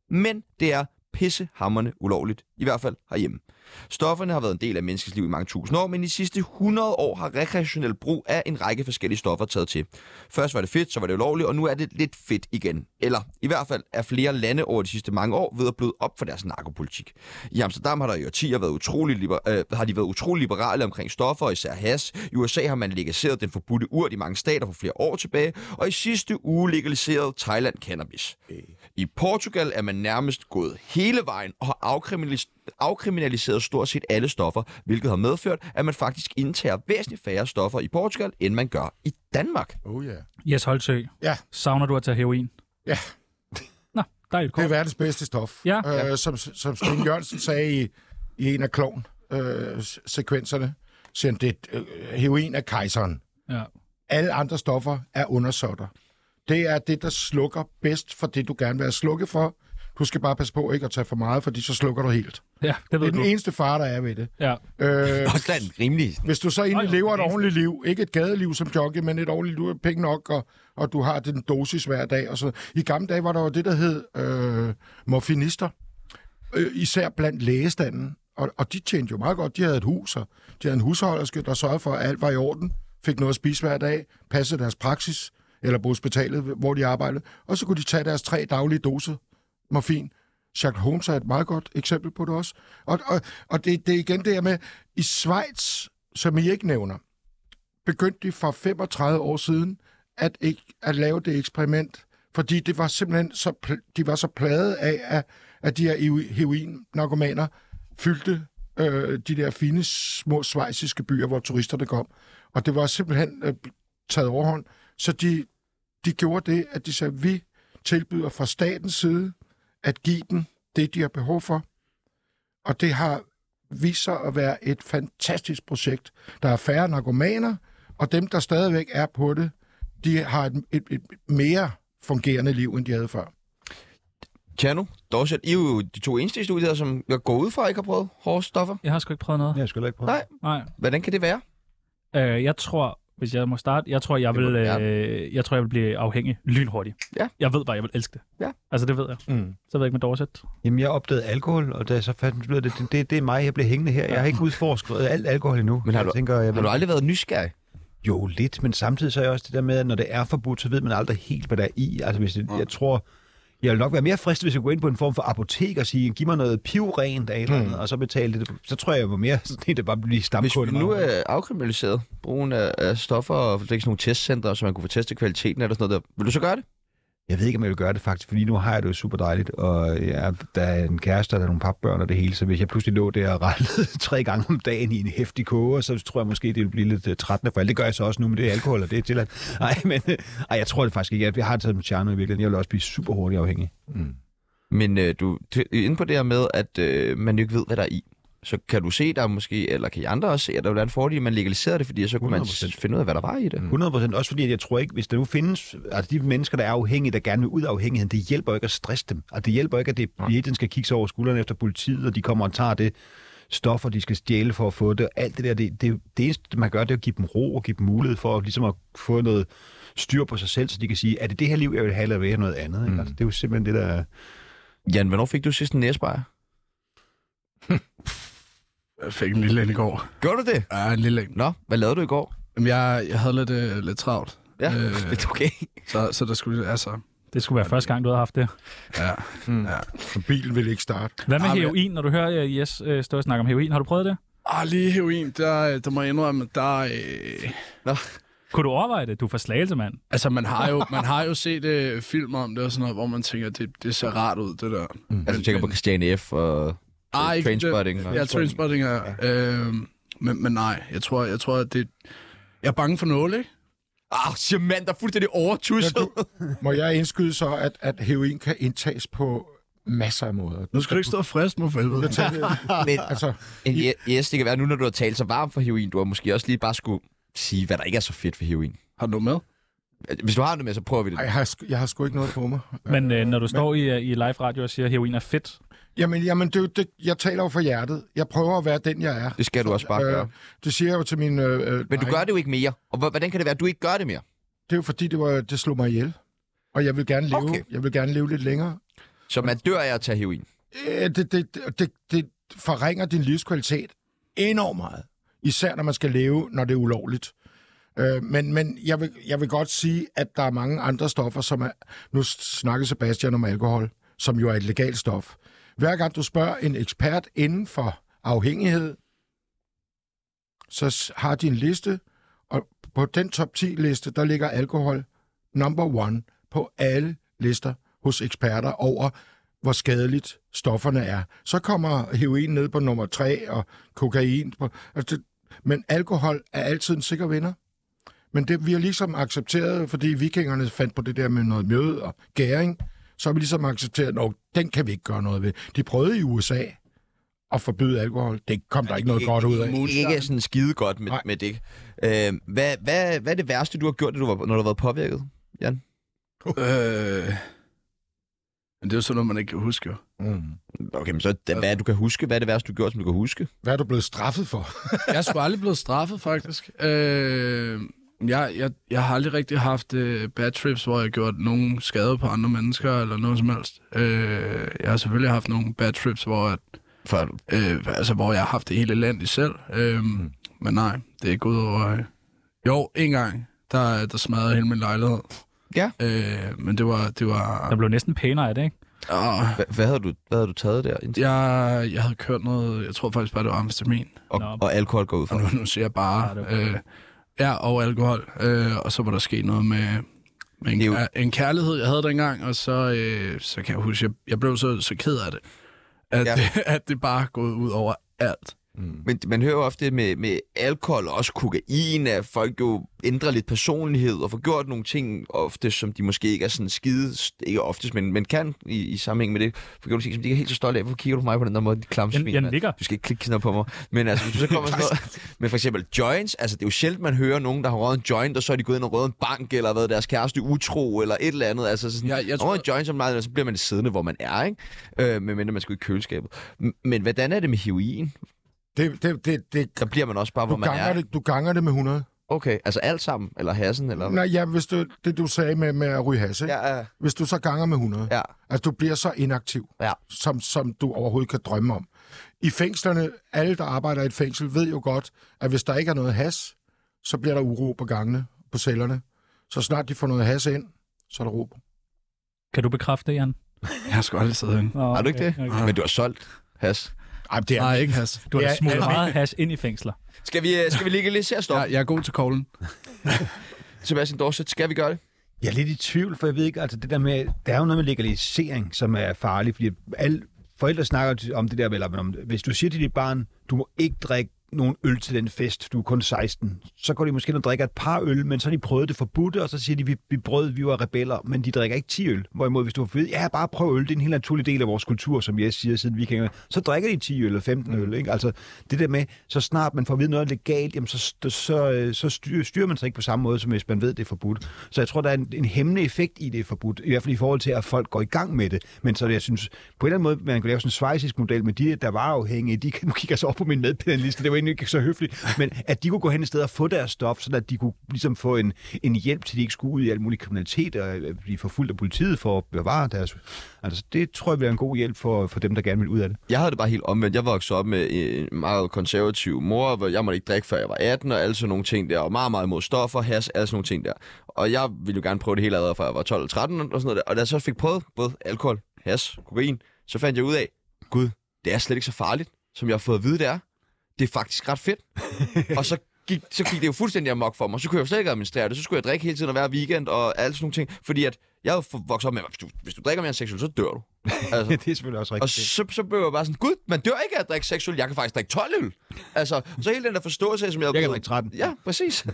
[SPEAKER 1] Men det er pissehammerne ulovligt, i hvert fald herhjemme. Stofferne har været en del af menneskets liv i mange tusind år, men i de sidste 100 år har rekreationel brug af en række forskellige stoffer taget til. Først var det fedt, så var det ulovligt, og nu er det lidt fedt igen. Eller i hvert fald er flere lande over de sidste mange år ved at bløde op for deres narkopolitik. I Amsterdam har der i årtier været utrolig liber- øh, har de været utrolig liberale omkring stoffer, især has. I USA har man legaliseret den forbudte urt i mange stater for flere år tilbage, og i sidste uge legaliserede Thailand cannabis. I Portugal er man nærmest gået hele vejen og har afkriminalis- afkriminaliseret stort set alle stoffer, hvilket har medført, at man faktisk indtager væsentligt færre stoffer i Portugal, end man gør i Danmark.
[SPEAKER 3] Oh ja. Yeah.
[SPEAKER 2] Jes Holtsø,
[SPEAKER 3] Ja.
[SPEAKER 2] savner du at tage heroin?
[SPEAKER 3] Ja.
[SPEAKER 2] Nå, dejligt.
[SPEAKER 3] Det er
[SPEAKER 2] Cool.
[SPEAKER 3] verdens bedste stof.
[SPEAKER 2] Ja.
[SPEAKER 3] Øh, som, som Sten Jørgensen sagde i, i en af kloven øh, s- sekvenserne, siger han, det er, øh, heroin er kejseren.
[SPEAKER 2] Ja.
[SPEAKER 3] Alle andre stoffer er undersåtter. Det er det, der slukker bedst for det, du gerne vil have slukket for. Du skal bare passe på ikke at tage for meget, fordi så slukker du helt.
[SPEAKER 2] ja, det
[SPEAKER 3] Det
[SPEAKER 2] ved
[SPEAKER 3] er den
[SPEAKER 2] du.
[SPEAKER 3] eneste fare, der er ved det.
[SPEAKER 2] Ja.
[SPEAKER 3] Øh,
[SPEAKER 1] Også er den rimelig.
[SPEAKER 3] hvis du så egentlig
[SPEAKER 2] Nå, jo,
[SPEAKER 3] lever et
[SPEAKER 2] det er
[SPEAKER 3] ordentligt liv, ikke et gadeliv som jockey, men et ordentligt liv, penge nok, og, og du har den dosis hver dag. Og så. I gamle dage var der jo det, der hed øh, morfinister, øh, især blandt lægestanden. Og, og de tjente jo meget godt. De havde et hus, og de havde en husholderske, der sørgede for, at alt var i orden, fik noget at spise hver dag, passede deres praksis, eller på hospitalet, hvor de arbejdede. Og så kunne de tage deres tre daglige doser morfin. Sherlock Holmes er et meget godt eksempel på det også. Og, og, og det, det er igen det her med, i Schweiz, som I ikke nævner, begyndte de for 35 år siden at, ikke, at lave det eksperiment, fordi det var simpelthen så, pl- de var så plaget af, at, at de her eu- heroin-narkomaner fyldte øh, de der fine små svejsiske byer, hvor turisterne kom. Og det var simpelthen øh, taget overhånd. Så de, de gjorde det, at de sagde, vi tilbyder fra statens side at give dem det, de har behov for. Og det har vist sig at være et fantastisk projekt. Der er færre narkomaner, og dem, der stadigvæk er på det, de har et, et, et mere fungerende liv, end de havde før.
[SPEAKER 1] Tjerno, Dorset, I er jo de to eneste i studiet, her, som jeg går ud fra, ikke har prøvet hårde stoffer.
[SPEAKER 2] Jeg har sgu ikke prøvet noget.
[SPEAKER 5] Det har jeg sgu heller ikke prøvet.
[SPEAKER 1] Nej.
[SPEAKER 2] Nej.
[SPEAKER 1] Hvordan kan det være?
[SPEAKER 2] Øh, jeg tror, hvis jeg må starte, jeg tror, jeg
[SPEAKER 1] Det må
[SPEAKER 2] vil,
[SPEAKER 1] du gerne.
[SPEAKER 2] øh, jeg tror, jeg vil blive afhængig lynhurtigt.
[SPEAKER 1] Ja.
[SPEAKER 2] Jeg ved bare, jeg vil elske det.
[SPEAKER 1] Ja.
[SPEAKER 2] Altså, det ved jeg.
[SPEAKER 3] Mm.
[SPEAKER 2] Så ved jeg ikke med Dorset.
[SPEAKER 5] Jamen, jeg opdagede alkohol, og da jeg så fandt ud af det, det, det, det er mig, jeg bliver hængende her. Jeg har ikke udforsket alt alkohol endnu.
[SPEAKER 1] Men har du-
[SPEAKER 5] jeg tænker, jeg
[SPEAKER 1] Har
[SPEAKER 5] vil...
[SPEAKER 1] du aldrig været nysgerrig?
[SPEAKER 5] Jo, lidt, men samtidig så er jeg også det der med, at når det er forbudt, så ved man aldrig helt, hvad der er i. Altså, hvis det, jeg tror, jeg vil nok være mere fristet, hvis jeg går ind på en form for apotek og sige, giv mig noget pivrent af et eller andet, og så betale det. Så tror jeg, jeg var mere sådan en, der bare blive
[SPEAKER 1] Mm. Hvis
[SPEAKER 5] stamkunde.
[SPEAKER 1] vi nu er afkriminaliseret brugen af, af stoffer og sådan nogle testcentre, så man kunne få testet kvaliteten eller sådan noget der, vil du så gøre det?
[SPEAKER 5] Jeg ved ikke, om jeg vil gøre det faktisk, fordi nu har jeg det jo super dejligt, og jeg, der er en kæreste, og der er nogle papbørn og det hele, så hvis jeg pludselig lå der og rallede tre gange om dagen i en hæftig koge, så tror jeg måske, det ville blive lidt øh, trættende for alt. Det gør jeg så også nu, men det er alkohol, og det er tilladt. Nej, men øh, ej, jeg tror det faktisk ikke. Jeg, jeg har taget dem charme i virkeligheden. Jeg vil også blive super hurtigt afhængig.
[SPEAKER 1] Men øh, du t- inde på det her med, at øh, man jo ikke ved, hvad der er i. Så kan du se, der er måske, eller kan I andre også se, at der vil være en fordel, at man legaliserer det, fordi så kunne man
[SPEAKER 5] 100%.
[SPEAKER 1] s- finde ud af, hvad der var i
[SPEAKER 3] Mm.
[SPEAKER 1] det.
[SPEAKER 5] 100 procent. Også fordi, at jeg tror ikke, hvis der nu findes... Altså, de mennesker, der er afhængige, der gerne vil ud af afhængigheden, det hjælper ikke at stresse dem. Og det hjælper ikke, at det hele tiden skal kigge sig over skuldrene efter politiet, og de kommer og tager det stof, og de skal stjæle for at få det. Og alt det der, det, det, det eneste, man gør, det er at give dem ro og give dem mulighed for at, ligesom at få noget styr på sig selv, så de kan sige, er det det her liv, jeg vil have, eller vil jeg noget andet? Ikke? Altså, det er jo simpelthen det, der... er-
[SPEAKER 1] Jan, hvornår fik du sidst en næsbejer?
[SPEAKER 6] Jeg fik en lille en i går.
[SPEAKER 1] Gjorde du det?
[SPEAKER 6] Ja, en lille en.
[SPEAKER 1] Nå, hvad lavede du i går?
[SPEAKER 6] Jamen, jeg, jeg havde lidt, øh, lidt travlt,
[SPEAKER 1] Ja,
[SPEAKER 6] Øh.
[SPEAKER 1] det er okay.
[SPEAKER 6] så, så der skulle... Altså,
[SPEAKER 2] Det skulle være første gang, du havde haft det. Mm.
[SPEAKER 6] ja.
[SPEAKER 3] Så bilen vil ikke starte.
[SPEAKER 2] Hvad med
[SPEAKER 6] Ah, men-
[SPEAKER 2] heroin, når du hører øh, Jes øh, stå og snakke om heroin? Har du prøvet det?
[SPEAKER 6] Ah, lige heroin, der, øh, der må jeg indrømme, der... Øh,
[SPEAKER 2] Kunne du overveje det? Du er fra Slagelse, mand.
[SPEAKER 6] altså, man har jo, man har jo set øh, film om det og sådan noget, hvor man tænker, det, det ser rart ud, det der.
[SPEAKER 1] Altså, du tænker på Christiane F. og
[SPEAKER 6] Ah, ikke det.
[SPEAKER 1] Trainspotting. og-
[SPEAKER 6] Ja, Trainspotting er... Øh, men, men nej, jeg tror, jeg tror, at det... Jeg er bange for nåle, ikke?
[SPEAKER 1] Ah, shaman, der er fuldstændig overtusset.
[SPEAKER 3] Ja, Må jeg indskyde så, at, at heroin kan indtages på masser af måder?
[SPEAKER 6] Nu skal du ikke stå og friste mig for helvede.
[SPEAKER 1] Men
[SPEAKER 3] Altså,
[SPEAKER 1] en je- yes, det kan være, nu når du har talt så varmt for heroin, du har måske også lige bare skulle sige, hvad der ikke er så fedt for heroin.
[SPEAKER 6] Har du noget med?
[SPEAKER 1] Hvis du har det med, så prøver vi det.
[SPEAKER 3] ej, jeg, har, sgu- jeg har sgu ikke noget på mig.
[SPEAKER 2] Men øh, når du står i, øh, i live radio og siger, at heroin er fedt,
[SPEAKER 3] Jamen, jamen det, er jo- det, jeg taler jo for hjertet. Jeg prøver at være den, jeg er.
[SPEAKER 1] Det skal du også bare gøre.
[SPEAKER 3] Øh, det siger jeg jo til min... Øh, øh,
[SPEAKER 1] Men du
[SPEAKER 3] drenge.
[SPEAKER 1] gør det jo ikke mere. Og hvor- hvordan kan det være, at du ikke gør det mere?
[SPEAKER 3] Det er jo fordi, det, var, det slog mig ihjel. Og jeg vil gerne leve,
[SPEAKER 1] Okay.
[SPEAKER 3] okay. jeg vil gerne leve lidt længere.
[SPEAKER 1] Så man dør af at tage heroin.
[SPEAKER 3] Øh, Det, det, det, det, det forringer din livskvalitet enormt meget. Især når man skal leve, når det er ulovligt. Øh, men men jeg, vil, jeg vil godt sige, at der er mange andre stoffer, som er... Nu snakkede Sebastian om alkohol, som jo er et legalt stof. Hver gang du spørger en ekspert inden for afhængighed, så s- har de en liste, og på den top 10-liste, der ligger alkohol number one på alle lister hos eksperter over, hvor skadeligt stofferne er. Så kommer heroin ned på nummer 3, og kokain på... Altså det, men alkohol er altid en sikker vinder. Men det, vi har ligesom accepteret, fordi vikingerne fandt på det der med noget mjød og gæring, så har vi ligesom accepteret, at den kan vi ikke gøre noget ved. De prøvede i USA at forbyde alkohol. Det kom der ikke noget godt ud af.
[SPEAKER 1] Ikke sådan skide godt med,
[SPEAKER 3] Nej.
[SPEAKER 1] med det. Øh, hvad, hvad, hvad er det værste, du har gjort, når du, var, når du har været påvirket?
[SPEAKER 6] Øh, men det er jo sådan noget, man ikke kan huske, jo.
[SPEAKER 3] Mm.
[SPEAKER 1] Okay, men så da, hvad er det, du kan huske? Hvad er det værste, du har gjort, som du kan huske?
[SPEAKER 3] Hvad er du blevet straffet for?
[SPEAKER 6] Jeg er sgu aldrig blevet straffet, faktisk. Øh, jeg, jeg, jeg har aldrig rigtig haft øh, bad trips, hvor jeg har gjort nogen skade på andre mennesker, eller noget som helst. Øh, jeg har selvfølgelig haft nogle bad trips, hvor, at,
[SPEAKER 1] For
[SPEAKER 6] øh, altså, hvor jeg har haft det hele elendigt selv. Øh, Men nej, det er ikke ud over... Øh. Jo, en gang, der, der smadrede hele min lejlighed.
[SPEAKER 1] Ja.
[SPEAKER 6] Øh, men det var... Det var
[SPEAKER 2] der blev næsten pænere af det, ikke?
[SPEAKER 6] åh,
[SPEAKER 1] hvad, hvad, havde du, hvad havde du taget der?
[SPEAKER 6] jeg, jeg havde kørt noget... Jeg tror faktisk bare, det var amfetamin.
[SPEAKER 1] Og, og alkohol går ud fra.
[SPEAKER 6] og nu, nu siger jeg
[SPEAKER 2] Ja,
[SPEAKER 6] bare,
[SPEAKER 2] det var
[SPEAKER 6] ja, øh, ja og alkohol, øh, og så var der sket noget med, med en,
[SPEAKER 1] Det er jo-
[SPEAKER 6] kær, en kærlighed, jeg havde dengang, og så, øh, så kan jeg huske, jeg, jeg blev så, så ked af det, at,
[SPEAKER 1] Ja.
[SPEAKER 6] ja. at det bare er gået ud over alt.
[SPEAKER 1] Men man hører jo ofte med, med alkohol og også kokain, at folk jo ændrer lidt personlighed og får gjort nogle ting ofte, som de måske ikke er sådan skide, ikke oftest, men, men kan i, i sammenhæng med det, få gjort nogle ting, som de ikke er helt så stolte af. Hvorfor kigger du på mig på den der måde, dit klamme
[SPEAKER 2] Jeg-
[SPEAKER 1] svin,
[SPEAKER 2] jeg
[SPEAKER 1] mand?
[SPEAKER 2] nikker.
[SPEAKER 1] Du skal ikke klikke sådan noget på mig. Men altså, hvis du så kommer sådan noget, men for eksempel joints, altså det er jo sjældent, man hører nogen, der har røget en joint, og så er de gået ind og røget en bank, eller hvad, deres kæreste utro, eller et eller andet. Altså sådan,
[SPEAKER 6] Jeg- jeg
[SPEAKER 1] når
[SPEAKER 6] tror-
[SPEAKER 1] man joint som meget, så bliver man siddende, hvor man er, ikke? Øh, medmindre man skal ud i køleskabet. M- Men hvordan er det med heroin?
[SPEAKER 3] Det, det, det, det,
[SPEAKER 1] Der bliver man også bare,
[SPEAKER 3] du,
[SPEAKER 1] hvor man
[SPEAKER 3] ganger
[SPEAKER 1] er.
[SPEAKER 3] det, du ganger det med 100.
[SPEAKER 1] Okay, altså alt sammen? Eller hassen? Eller...
[SPEAKER 3] Nej, ja, hvis du, det du sagde med, med at ryge hasse, ja.
[SPEAKER 1] Ja, ja,
[SPEAKER 3] hvis du så ganger med 100,
[SPEAKER 1] ja.
[SPEAKER 3] altså du bliver så inaktiv,
[SPEAKER 1] Ja.
[SPEAKER 3] som, som du overhovedet kan drømme om. I fængslerne, alle der arbejder i et fængsel, ved jo godt, at hvis der ikke er noget has, så bliver der uro på gangene, på cellerne. Så snart de får noget has ind, så er der ro.
[SPEAKER 2] Kan du bekræfte det, Jan?
[SPEAKER 6] Jeg har sgu aldrig siddet herinde.
[SPEAKER 2] Nå,
[SPEAKER 1] Har du ikke det?
[SPEAKER 2] Okay.
[SPEAKER 1] Men du har solgt has.
[SPEAKER 3] Ej, det er,
[SPEAKER 6] Nej, ikke has.
[SPEAKER 2] Du har
[SPEAKER 3] Ja,
[SPEAKER 2] ja, smuglet
[SPEAKER 3] almen-
[SPEAKER 2] meget hash ind i fængsler.
[SPEAKER 1] Skal vi, øh, skal vi legalisere stop?
[SPEAKER 6] Jeg, jeg er god til koglen.
[SPEAKER 1] Sebastian Dorset, skal vi gøre det?
[SPEAKER 5] Jeg er lidt i tvivl, for jeg ved ikke, altså det der med, der er jo noget med legalisering, som er farligt, fordi alle forældre snakker om det der, eller om, hvis du siger til dit barn, du må ikke drikke nogen øl til den fest, du er kun 16, så går de måske og drikker et par øl, men så har de prøvet det forbudte, og så siger de, vi, vi brød, vi var rebeller, men de drikker ikke 10 øl. Hvorimod, hvis du har fået, ja, bare prøv øl, det er en helt naturlig del af vores kultur, som jeg siger siden vikingerne, så drikker de 10 øl og 15 øl. Ikke? Altså, det der med, så snart man får at vide noget legalt, jamen, så, så, øh, så styrer, styrer man sig ikke på samme måde, som hvis man ved, det er forbudt. Så jeg tror, der er en, en hæmmende effekt i det er forbudt, i hvert fald i forhold til, at folk går i gang med det. Men så jeg synes, på en eller anden måde, man kan lave sådan en svejsisk model med de, der var afhængige, de kan, nu kigger jeg så op på min medpændeliste, det var egentlig ikke så høfligt, men at de kunne gå hen et sted og få deres stof, så at de kunne ligesom få en, en hjælp til, de ikke skulle ud i al mulig kriminalitet og øh, blive forfulgt af politiet for at bevare deres... Altså, det tror jeg bliver en god hjælp for, for dem, der gerne vil ud af det.
[SPEAKER 1] Jeg havde det bare helt omvendt. Jeg voksede op med øh, en meget konservativ mor, hvor jeg måtte ikke drikke, før jeg var 18 og alle sådan nogle ting der, og meget, meget imod stoffer, has, alle sådan nogle ting der. Og jeg ville jo gerne prøve det hele allerede, fra jeg var 12 og 13 og sådan noget der. Og da jeg så fik prøvet både alkohol, has, kokain, så fandt jeg ud af, gud, det er slet ikke så farligt, som jeg har fået at vide, det er det er faktisk ret fedt. og så gik, så gik det jo fuldstændig amok for mig. Så kunne jeg jo slet ikke administrere det. Så skulle jeg drikke hele tiden og hver weekend og alle sådan nogle ting. Fordi at jeg er jo vokset op med, at hvis du, hvis du drikker mere end 6 øl, så dør du.
[SPEAKER 5] Altså, det er selvfølgelig også rigtigt.
[SPEAKER 1] Og så, så blev jeg bare sådan, gud, man dør ikke af at drikke 6 øl, jeg kan faktisk drikke 12 øl. Altså, så hele den der forståelse af, som jeg...
[SPEAKER 5] Jeg kan drikke 13.
[SPEAKER 1] Ja, præcis.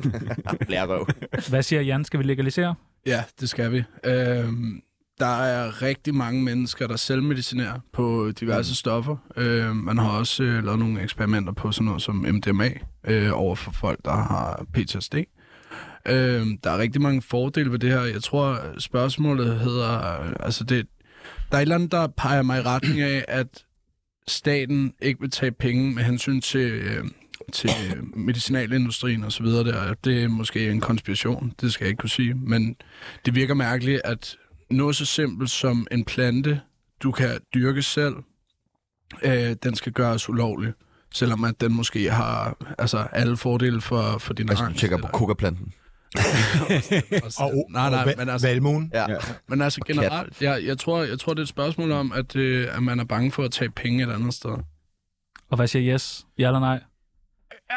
[SPEAKER 1] Blærerøv.
[SPEAKER 2] Hvad siger Jan? Skal vi legalisere?
[SPEAKER 6] Ja, det skal vi. Øhm, der er rigtig mange mennesker, der selvmedicinerer på diverse mm. stoffer. Øh, man har også øh, lavet nogle eksperimenter på sådan noget som MDMA øh, over for folk, der har PTSD. Øh, der er rigtig mange fordele ved det her. Jeg tror, spørgsmålet hedder... øh, Altså det, der er et eller andet, der peger mig i retning af, at staten ikke vil tage penge med hensyn til, øh, til øhm, medicinalindustrien osv. Der. Det er måske en konspiration, det skal jeg ikke kunne sige, men det virker mærkeligt, at noget så simpelt som en plante, du kan dyrke selv, øh, den skal gøres ulovlig. Selvom at den måske har altså, alle fordele for, for din
[SPEAKER 1] Altså, du tænker på kokaplanten.
[SPEAKER 6] Og, nej, nej, men altså,
[SPEAKER 3] Valmuen.
[SPEAKER 1] Ja.
[SPEAKER 6] men altså generelt, jeg, jeg, tror, jeg tror, det er et spørgsmål om, at, øh, at man er bange for at tage penge et andet sted.
[SPEAKER 2] Og hvad siger yes? Ja eller nej?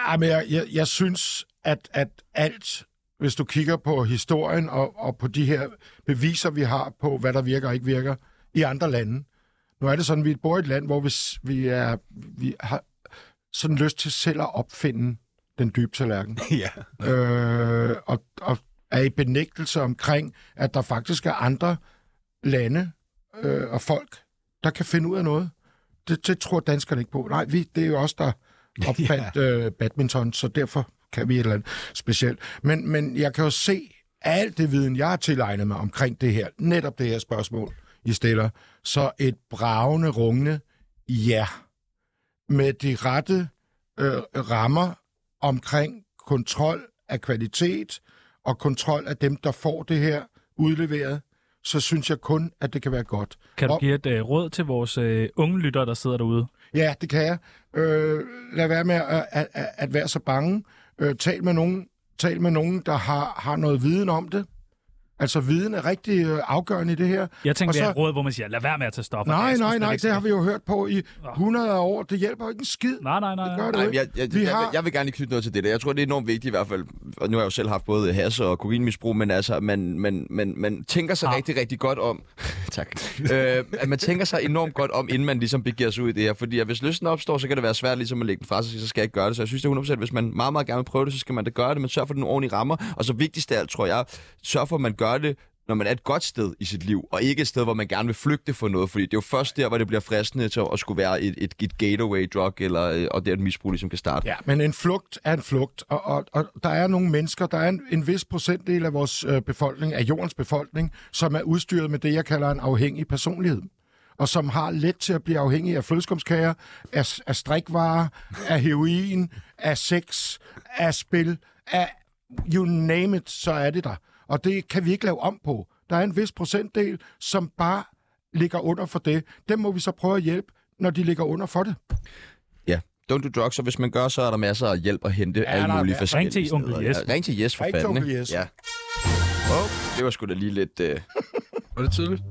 [SPEAKER 3] Ja, men jeg, jeg, jeg synes, at, at alt, hvis du kigger på historien og, og på de her beviser, vi har på, hvad der virker og ikke virker i andre lande. Nu er det sådan, at vi bor i et land, hvor vi, s- vi, er, vi har sådan lyst til selv at opfinde den dybe tallerken.
[SPEAKER 5] ja.
[SPEAKER 3] øh, og, og er i benægtelse omkring, at der faktisk er andre lande øh, og folk, der kan finde ud af noget. Det, det tror danskerne ikke på. Nej, vi, det er jo os, der opfandt øh, badminton, så derfor kan vi et eller andet specielt. Men, men jeg kan jo se alt det viden, jeg har tilegnet mig omkring det her, netop det her spørgsmål, I stiller, så et bravende, rungende ja med de rette øh, rammer omkring kontrol af kvalitet og kontrol af dem, der får det her udleveret, så synes jeg kun, at det kan være godt.
[SPEAKER 2] Kan du
[SPEAKER 3] Og-
[SPEAKER 2] give et øh, råd til vores øh, unge lyttere, der sidder derude?
[SPEAKER 3] Ja, det kan jeg. Øh, lad være med at, at, at, at være så bange. Øh, tal, med nogen, tal med nogen, der har, har noget viden om det. Altså, viden er rigtig øh, afgørende i det her.
[SPEAKER 2] Jeg tænker,
[SPEAKER 3] Og
[SPEAKER 2] så... det er
[SPEAKER 3] så-
[SPEAKER 2] et råd, hvor man siger, lad være med at tage stoffer.
[SPEAKER 3] Nej,
[SPEAKER 2] Jeg synes
[SPEAKER 3] nej,
[SPEAKER 2] slet
[SPEAKER 3] nej,
[SPEAKER 2] ikke,
[SPEAKER 3] det har vi jo hørt på i
[SPEAKER 2] Nå.
[SPEAKER 3] 100 af år. Det hjælper jo ikke en skid.
[SPEAKER 2] Nej, nej, nej.
[SPEAKER 3] Det gør
[SPEAKER 2] nej.
[SPEAKER 3] det
[SPEAKER 1] Nej,
[SPEAKER 3] jo
[SPEAKER 1] men
[SPEAKER 3] ikke.
[SPEAKER 1] jeg, jeg,
[SPEAKER 3] Vi
[SPEAKER 1] jeg,
[SPEAKER 3] har-
[SPEAKER 1] jeg, vil gerne knytte noget til det der. Jeg tror, det er enormt vigtigt i hvert fald, og nu har jeg jo selv haft både has og kokainmisbrug, men altså, man, man, man, man tænker sig
[SPEAKER 2] Ah.
[SPEAKER 1] ah. rigtig, rigtig godt om, tak, øh, at man tænker sig enormt godt om, inden man ligesom begiver sig ud i det her, fordi at hvis lysten opstår, så kan det være svært ligesom at lægge den fra sig, og sige, så skal jeg ikke gøre det, så jeg synes det er 100%, hvis man meget, meget gerne vil prøve det, så skal man da gøre det, men sørg for den ordentlige rammer, og så vigtigst af alt, tror jeg, sørg for, at man gør det når man er et godt sted i sit liv, og ikke et sted, hvor man gerne vil flygte for noget, fordi det er jo først der, hvor det bliver fristende til at skulle være et, et, et gateway drug, eller, øh, og det er et misbrug ligesom kan starte.
[SPEAKER 3] Ja, men en flugt er en flugt, og, og, og der er nogle mennesker, der er en, en vis procentdel af vores øh, befolkning, af jordens befolkning, som er udstyret med det, jeg kalder en afhængig personlighed og som har let til at blive afhængig af flødeskumskager, af, af strikvarer, af heroin, af sex, af spil, af you name it, så er det der. Og det kan vi ikke lave om på. Der er en vis procentdel, som bare ligger under for det. Dem må vi så prøve at hjælpe, når de ligger under for det.
[SPEAKER 1] Ja. Don't do drugs, og hvis man gør, så er der masser af hjælp at hente ja, alle
[SPEAKER 3] der er
[SPEAKER 1] mulige
[SPEAKER 3] ma-
[SPEAKER 1] forskellige
[SPEAKER 2] Ring til onkel
[SPEAKER 1] steder.
[SPEAKER 2] Jes.
[SPEAKER 1] Ja, ring til Jes for
[SPEAKER 3] Ring til
[SPEAKER 1] fanden.
[SPEAKER 3] onkel
[SPEAKER 1] ikke?
[SPEAKER 3] Jes.
[SPEAKER 1] Ja. Oh, det var sgu da lige lidt... Øh...
[SPEAKER 6] Var det tydeligt?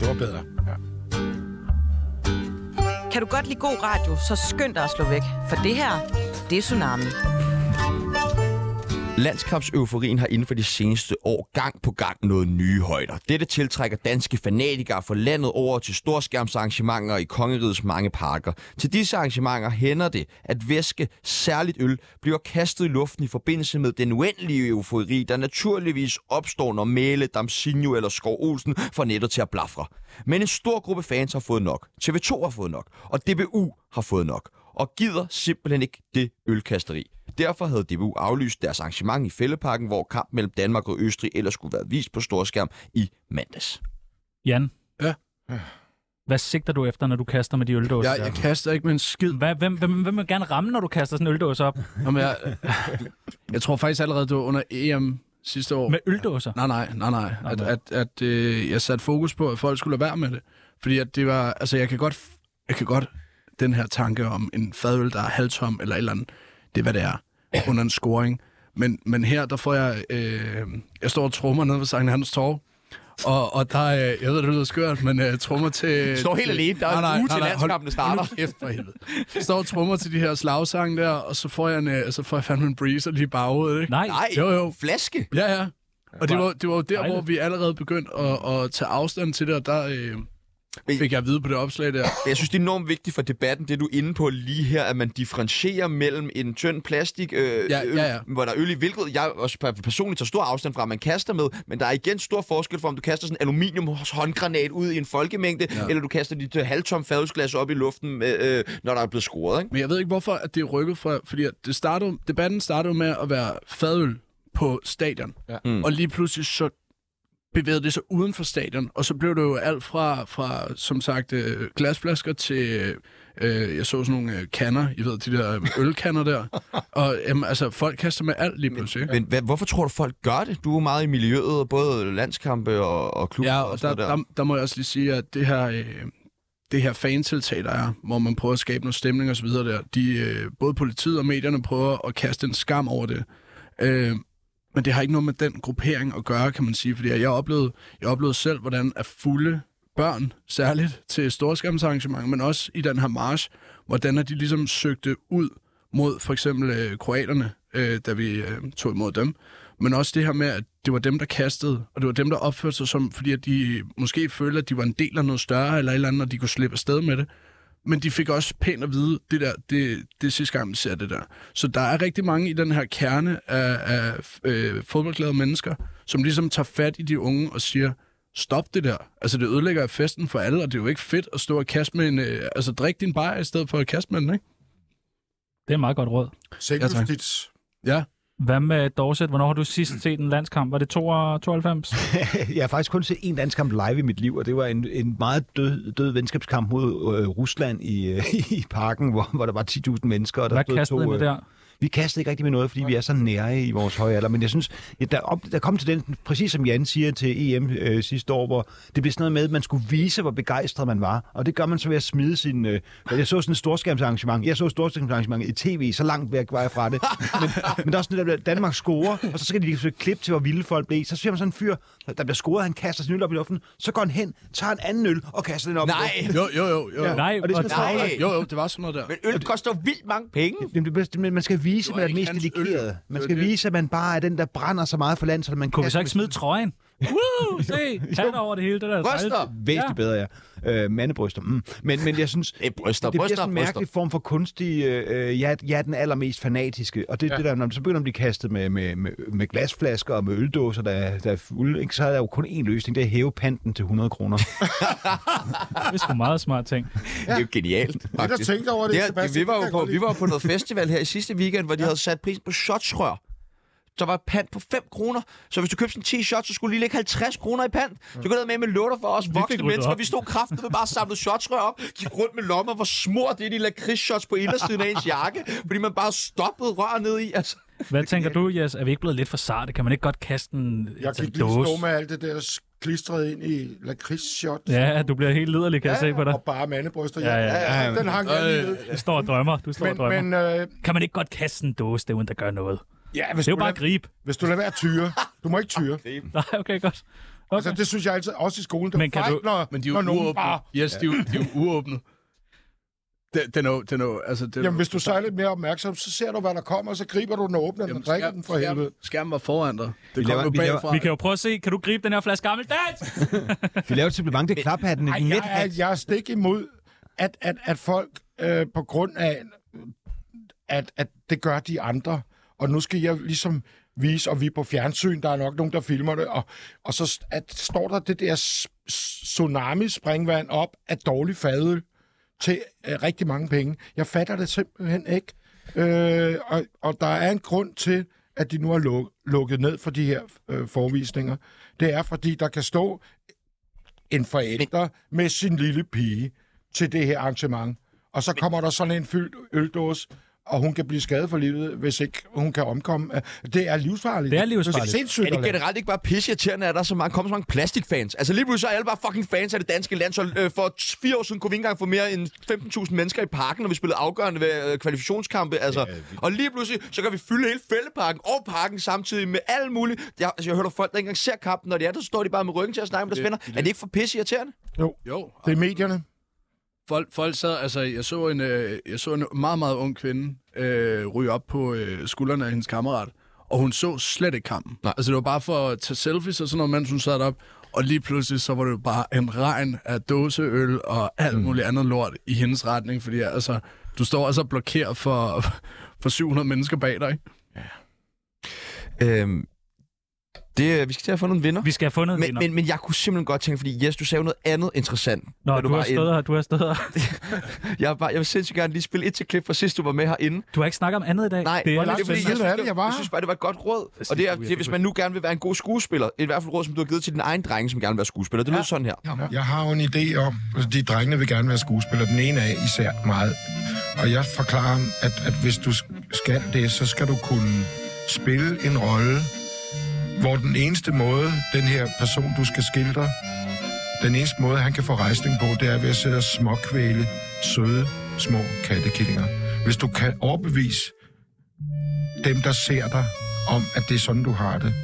[SPEAKER 3] Det var bedre. Ja.
[SPEAKER 4] Kan du godt lide god radio, så skynd dig at slå væk. For det her, det er Tsunami.
[SPEAKER 1] Landskabseuforien har inden for de seneste år gang på gang nået nye højder. Dette tiltrækker danske fanatikere fra landet over til storskærmsarrangementer i kongerigets mange parker. Til disse arrangementer hænder det, at væske, særligt øl, bliver kastet i luften i forbindelse med den uendelige eufori, der naturligvis opstår, når Mæle, Damsinio eller Skov Olsen får nettet til at blafre. Men en stor gruppe fans har fået nok. TV2 har fået nok. Og DBU har fået nok og gider simpelthen ikke det ølkasteri. Derfor havde DBU aflyst deres arrangement i Fælleparken, hvor kampen mellem Danmark og Østrig ellers skulle være vist på storskærm i mandags.
[SPEAKER 2] Jan?
[SPEAKER 6] Ja?
[SPEAKER 2] Hvad sigter du efter, når du kaster med de øldåser?
[SPEAKER 6] Jeg, jeg kaster ikke med en skid.
[SPEAKER 2] Hvad, hvem, hvem, hvem vil gerne ramme, når du kaster sådan en øldåse op?
[SPEAKER 6] Nå, men jeg, jeg tror faktisk allerede, det var under EM sidste år.
[SPEAKER 2] Med øldåser?
[SPEAKER 6] Nej, nej, nej, nej. At, at, at øh, jeg satte fokus på, at folk skulle lade være med det. Fordi at det var, altså jeg kan godt, jeg kan godt den her tanke om en fadøl, der er halvtom eller et eller andet. Det er, hvad det er under en scoring. Men, men her, der får jeg... Øh, jeg står og trummer nede ved Sankt Hans Torv, og, og der er, jeg ved, det lyder skørt, men uh, trummer til...
[SPEAKER 1] Står helt
[SPEAKER 6] til,
[SPEAKER 1] alene, der er en uge til landskampene starter.
[SPEAKER 6] Hold nu kæft for helvede. Står og trummer til de her slagsange der, og så får jeg, en, uh, så får jeg fandme en breezer lige i baghovedet, ikke?
[SPEAKER 2] Nej.
[SPEAKER 1] Nej,
[SPEAKER 6] Jo, jo.
[SPEAKER 1] flaske.
[SPEAKER 6] Ja, ja. Og det var, det var jo der,
[SPEAKER 2] Dejligt.
[SPEAKER 6] hvor vi allerede begyndte at, at tage afstand til det, og der øh, fik jeg at vide på det opslag der.
[SPEAKER 1] Jeg synes, det er enormt vigtigt for debatten, det du er inde på lige her, at man differentierer mellem en tynd plastik, øh,
[SPEAKER 6] Ja,
[SPEAKER 1] øl,
[SPEAKER 6] ja, ja.
[SPEAKER 1] hvor der er øl i, hvilket jeg også per- personligt tager stor afstand fra, at man kaster med, men der er igen stor forskel for, om du kaster sådan en aluminium håndgranat ud i en folkemængde, ja. eller du kaster dit øh, halvtom fadelsglas op i luften, øh, øh, når der er blevet scoret. Ikke?
[SPEAKER 6] Men jeg ved ikke, hvorfor at det er rykket fra... Fordi at det startede, debatten startede jo med at være fadøl på stadion. Ja. Mm. Og lige pludselig så bevægede det sig uden for stadion. Og så blev det jo alt fra, fra som sagt, øh, glasflasker til... Øh, jeg så sådan nogle øh, kanner, I ved, de der øh, ølkanner der. og øhm, altså, folk kaster med alt lige pludselig. ikke?
[SPEAKER 1] Men hvad, hvorfor tror du, folk gør det? Du er jo meget i miljøet, både landskampe og, og klubber
[SPEAKER 6] Ja,
[SPEAKER 1] og
[SPEAKER 6] og der,
[SPEAKER 1] sådan noget
[SPEAKER 6] der, der må jeg også lige sige, at det her, øh, det her fantiltag, der er, hvor man prøver at skabe noget stemning osv., der, de, øh, både politiet og medierne prøver at kaste en skam over det. Øh, men det har ikke noget med den gruppering at gøre, kan man sige, fordi jeg oplevede, jeg oplevede selv, hvordan at fulde børn, særligt til storskærmsarrangementer, men også i den her march, hvordan at de ligesom søgte ud mod for eksempel øh, kroaterne, øh, da vi øh, tog imod dem. Men også det her med, at det var dem, der kastede, og det var dem, der opførte sig som, fordi at de måske følte, at de var en del af noget større eller et eller andet, og de kunne slippe afsted med det. Men de fik også pænt at vide, det der, det, det er sidste gang, vi ser det der. Så der er rigtig mange i den her kerne af, af øh, fodboldglade mennesker, som ligesom tager fat i de unge og siger, stop det der. Altså, det ødelægger festen for alle, og det er jo ikke fedt at stå og kaste med en... Øh, altså, drik din bajer i stedet for at kaste med den, ikke?
[SPEAKER 2] Det er et meget godt råd.
[SPEAKER 3] Selvjustits.
[SPEAKER 6] Ja.
[SPEAKER 2] Hvad med Dorset? Hvornår har du sidst set en landskamp? Var det 92?
[SPEAKER 5] jeg har faktisk kun set en landskamp live i mit liv, og det var en, en meget død, død venskabskamp mod øh, Rusland i, øh, i parken, hvor, hvor der var 10.000 mennesker. Og der
[SPEAKER 2] Hvad
[SPEAKER 5] stod
[SPEAKER 2] kastede I
[SPEAKER 5] to,
[SPEAKER 2] med
[SPEAKER 5] øh,
[SPEAKER 2] der?
[SPEAKER 5] Vi kastede ikke rigtig med noget, fordi vi er så nære i vores høje alder. Men jeg synes, at der, op, der kom til den, præcis som Jan siger til EM øh, sidste år, hvor det blev sådan noget med, at man skulle vise, hvor begejstret man var. Og det gør man så ved at smide sin... Øh, jeg så sådan et storskærmsarrangement. Jeg så et storskærmsarrangement i tv, så langt væk var jeg fra det. Men, men der er sådan det der, Danmark scorer, og så skal de lige klip til, hvor vilde folk blev. Så ser man sådan en fyr, der bliver scoret, han kaster sin øl op i luften, så går han hen, tager en anden øl og kaster den op i luften.
[SPEAKER 1] Nej,
[SPEAKER 6] Jo, jo, jo. jo. Ja.
[SPEAKER 2] Nej,
[SPEAKER 5] og det
[SPEAKER 2] og
[SPEAKER 5] skal
[SPEAKER 1] travlt.
[SPEAKER 2] travler.
[SPEAKER 1] Nej.
[SPEAKER 6] Jo, jo, det var sådan noget der.
[SPEAKER 1] men øl koster vildt mange penge.
[SPEAKER 5] Jamen, det, bedste- men man skal vise,
[SPEAKER 6] Det
[SPEAKER 5] at
[SPEAKER 6] var
[SPEAKER 5] man er den
[SPEAKER 6] ikke
[SPEAKER 5] mest
[SPEAKER 6] hans øl.
[SPEAKER 5] dedikerede.
[SPEAKER 6] Det var
[SPEAKER 5] Man skal
[SPEAKER 6] det.
[SPEAKER 5] vise, at man bare er den, der brænder så meget for landet, så man
[SPEAKER 2] Kunne vi så
[SPEAKER 5] kaster
[SPEAKER 2] ikke smide trøjen? Woo! Se! Hat over det hele. Det der er
[SPEAKER 1] Bryster!
[SPEAKER 2] dejligt.
[SPEAKER 5] væsentligt bedre, ja. Øh, mandebryster. Mm. Men, men jeg synes,
[SPEAKER 1] Det er bryster,
[SPEAKER 5] det bliver
[SPEAKER 1] bryster,
[SPEAKER 5] sådan en
[SPEAKER 1] bryster.
[SPEAKER 5] mærkelig form for kunstig, øh, jeg, er- jeg er den allermest fanatiske. Og det, ja. det der, når så begynder at blive kastet med, med, med, med glasflasker og med øldåser, der, er- der er fulde, ikke, så er der jo kun én løsning, det er at hæve panten til 100 kroner.
[SPEAKER 2] Det er sgu meget smart ting.
[SPEAKER 1] Det er jo genialt.
[SPEAKER 3] Jeg der
[SPEAKER 1] faktisk.
[SPEAKER 3] tænkte over det,
[SPEAKER 1] Ja,
[SPEAKER 3] Sebastian,
[SPEAKER 1] vi var jo
[SPEAKER 3] det kan jeg
[SPEAKER 1] på,
[SPEAKER 3] godt
[SPEAKER 1] vi var jo på noget festival her i sidste weekend, hvor de havde sat prisen på shotsrør. Så var pant på 5 kroner. Så hvis du købte sådan 10 shots, så skulle du lige lægge 50 kroner i pant. Så kunne du med med lutter for os voksne
[SPEAKER 2] ryddet
[SPEAKER 1] mennesker.
[SPEAKER 2] op.
[SPEAKER 1] Vi stod kraftigt med bare samlede shotsrør op, gik rundt med lommer, hvor smurt det er de lakridsshots på indersiden af ens jakke, fordi man bare stoppede rør ned i. Altså.
[SPEAKER 2] Hvad tænker du, Jes? Er vi ikke blevet lidt for sarte? Kan man ikke godt kaste en, altså,
[SPEAKER 3] Jeg
[SPEAKER 2] en
[SPEAKER 3] gik lige stå med alt det der s- klistret ind i lakrids-shot.
[SPEAKER 2] Ja, du bliver helt liderlig, kan ja, jeg se på dig.
[SPEAKER 3] Og bare mandebryster.
[SPEAKER 2] Ja, ja,
[SPEAKER 3] ja. Den hang jeg lige ned.
[SPEAKER 2] Du står og drømmer. Du står og drømmer.
[SPEAKER 3] Men, men øh,
[SPEAKER 2] Kan man ikke godt kaste en dåse, der uden der gør noget?
[SPEAKER 3] ja, hvis,
[SPEAKER 2] Det er
[SPEAKER 3] du
[SPEAKER 2] jo bare
[SPEAKER 3] lader,
[SPEAKER 2] at gribe.
[SPEAKER 3] hvis du lader være at tyre. Du må ikke tyre.
[SPEAKER 2] Nej, okay, godt.
[SPEAKER 3] Altså, det synes jeg altid, også i skolen. Det
[SPEAKER 2] Men
[SPEAKER 3] men
[SPEAKER 2] kan
[SPEAKER 3] kan fejl,
[SPEAKER 2] du-
[SPEAKER 3] når,
[SPEAKER 6] Men de er
[SPEAKER 3] når
[SPEAKER 6] jo
[SPEAKER 3] nogen
[SPEAKER 6] uåbnet.
[SPEAKER 3] bare...
[SPEAKER 6] Yes, de er, jo- de er jo uåbnet. Den, den er jo... Den er jo altså, den er
[SPEAKER 3] Jamen,
[SPEAKER 6] jo-
[SPEAKER 3] hvis du så er lidt mere opmærksom, så ser du, hvad der kommer, og så griber du den og åbner den og drikker den for helvede.
[SPEAKER 6] Skærmen, skærmen var foran dig. Det
[SPEAKER 5] laver-
[SPEAKER 6] kom jo
[SPEAKER 5] vi laver-
[SPEAKER 6] bagfra.
[SPEAKER 2] Vi kan jo prøve at se, kan du gribe den her flaske gammel dansk?
[SPEAKER 5] Vi laver et supplement til klaphatten. Et net.
[SPEAKER 3] Jeg er, jeg er stik imod, at, at, at folk øh, på grund af, at, at det gør de andre, og nu skal jeg ligesom vise, og vi er på fjernsyn, der er nok nogen, der filmer det, og, og så st- at, står der det der s- s- tsunami-springvand op af dårlig fadøl til øh, rigtig mange penge. Jeg fatter det simpelthen ikke. Øh, og, og der er en grund til, at de nu har luk, lukket ned for de her øh, forvisninger. Det er, fordi der kan stå en forælder med sin lille pige til det her arrangement. Og så kommer der sådan en fyldt øldåse, og hun kan blive skadet for livet, hvis ikke hun kan omkomme. Øh, Det er livsfarligt.
[SPEAKER 2] Det er livsfarligt.
[SPEAKER 3] Det er sindssygt.
[SPEAKER 1] Er
[SPEAKER 3] at
[SPEAKER 1] det
[SPEAKER 3] lave.
[SPEAKER 1] generelt ikke bare pisseirriterende, at der er så mange, kommer så mange plastikfans? Altså lige pludselig så er alle bare fucking fans af det danske land, så øh, for t- fire år siden kunne vi ikke engang få mere end 15.000 mennesker i parken, når vi spillede afgørende ved øh, kvalifikationskampe. Altså. Og lige pludselig, så kan vi fylde hele fældeparken og parken samtidig med alt muligt. Jeg, altså, jeg hører folk, der ikke engang ser kampen, når de er der, så står de bare med ryggen til at snakke med deres venner. Er det ikke for pisseirriterende?
[SPEAKER 6] Jo,
[SPEAKER 3] det er medierne.
[SPEAKER 6] Folk, folk sad, altså, jeg så en, øh, jeg så en meget, meget ung kvinde øh, ryge op på øh, skuldrene af hendes kammerat, og hun så slet ikke kampen. Nej. Altså, det var bare for at tage selfies og sådan noget, mens hun sad op. Og lige pludselig, så var det jo bare en regn af dåseøl og alt muligt andet lort i hendes retning, fordi altså, du står altså og blokerer for, for 700 mennesker bag dig, ikke?
[SPEAKER 1] Øhm, det, øh, vi skal til at få nogle vinder.
[SPEAKER 2] Vi skal have fundet en
[SPEAKER 1] Men,
[SPEAKER 2] vinder.
[SPEAKER 1] men, men jeg kunne simpelthen godt tænke, fordi Jes, du sagde jo noget andet interessant.
[SPEAKER 2] Nå,
[SPEAKER 1] da
[SPEAKER 2] du, du har
[SPEAKER 1] var
[SPEAKER 2] stået her, du har stået her.
[SPEAKER 1] inde. Jeg, var, jeg vil sindssygt gerne lige spille et til klip fra sidst, du var med herinde.
[SPEAKER 2] Du har ikke snakket om andet i dag.
[SPEAKER 1] Nej,
[SPEAKER 2] det er
[SPEAKER 1] det
[SPEAKER 3] lang
[SPEAKER 1] er
[SPEAKER 2] lidt
[SPEAKER 1] fordi,
[SPEAKER 3] tid
[SPEAKER 1] jeg, synes,
[SPEAKER 2] spændende.
[SPEAKER 3] siden er
[SPEAKER 1] det,
[SPEAKER 3] det,
[SPEAKER 1] jeg,
[SPEAKER 3] jeg var
[SPEAKER 1] synes bare, det var et godt råd.
[SPEAKER 2] Præcis,
[SPEAKER 1] Og det er, det,
[SPEAKER 2] du er
[SPEAKER 1] er, hvis
[SPEAKER 2] virkelig
[SPEAKER 1] man nu gerne vil være en god skuespiller, i hvert fald et råd, som du har givet til din egen dreng, som gerne vil være skuespiller, det lyder sådan her.
[SPEAKER 7] Jeg har jo en idé om, at de drengene vil gerne være skuespillere, den ene af især meget. Og jeg forklarer ham, at, at hvis du skal det, så skal du kunne spille en rolle, hvor den eneste måde, den her person, du skal skildre, den eneste måde, han kan få rejsning på, det er ved at sidde og småkvæle søde, små kattekillinger. Hvis du kan overbevise dem, der ser dig, om, at det er sådan, du har det,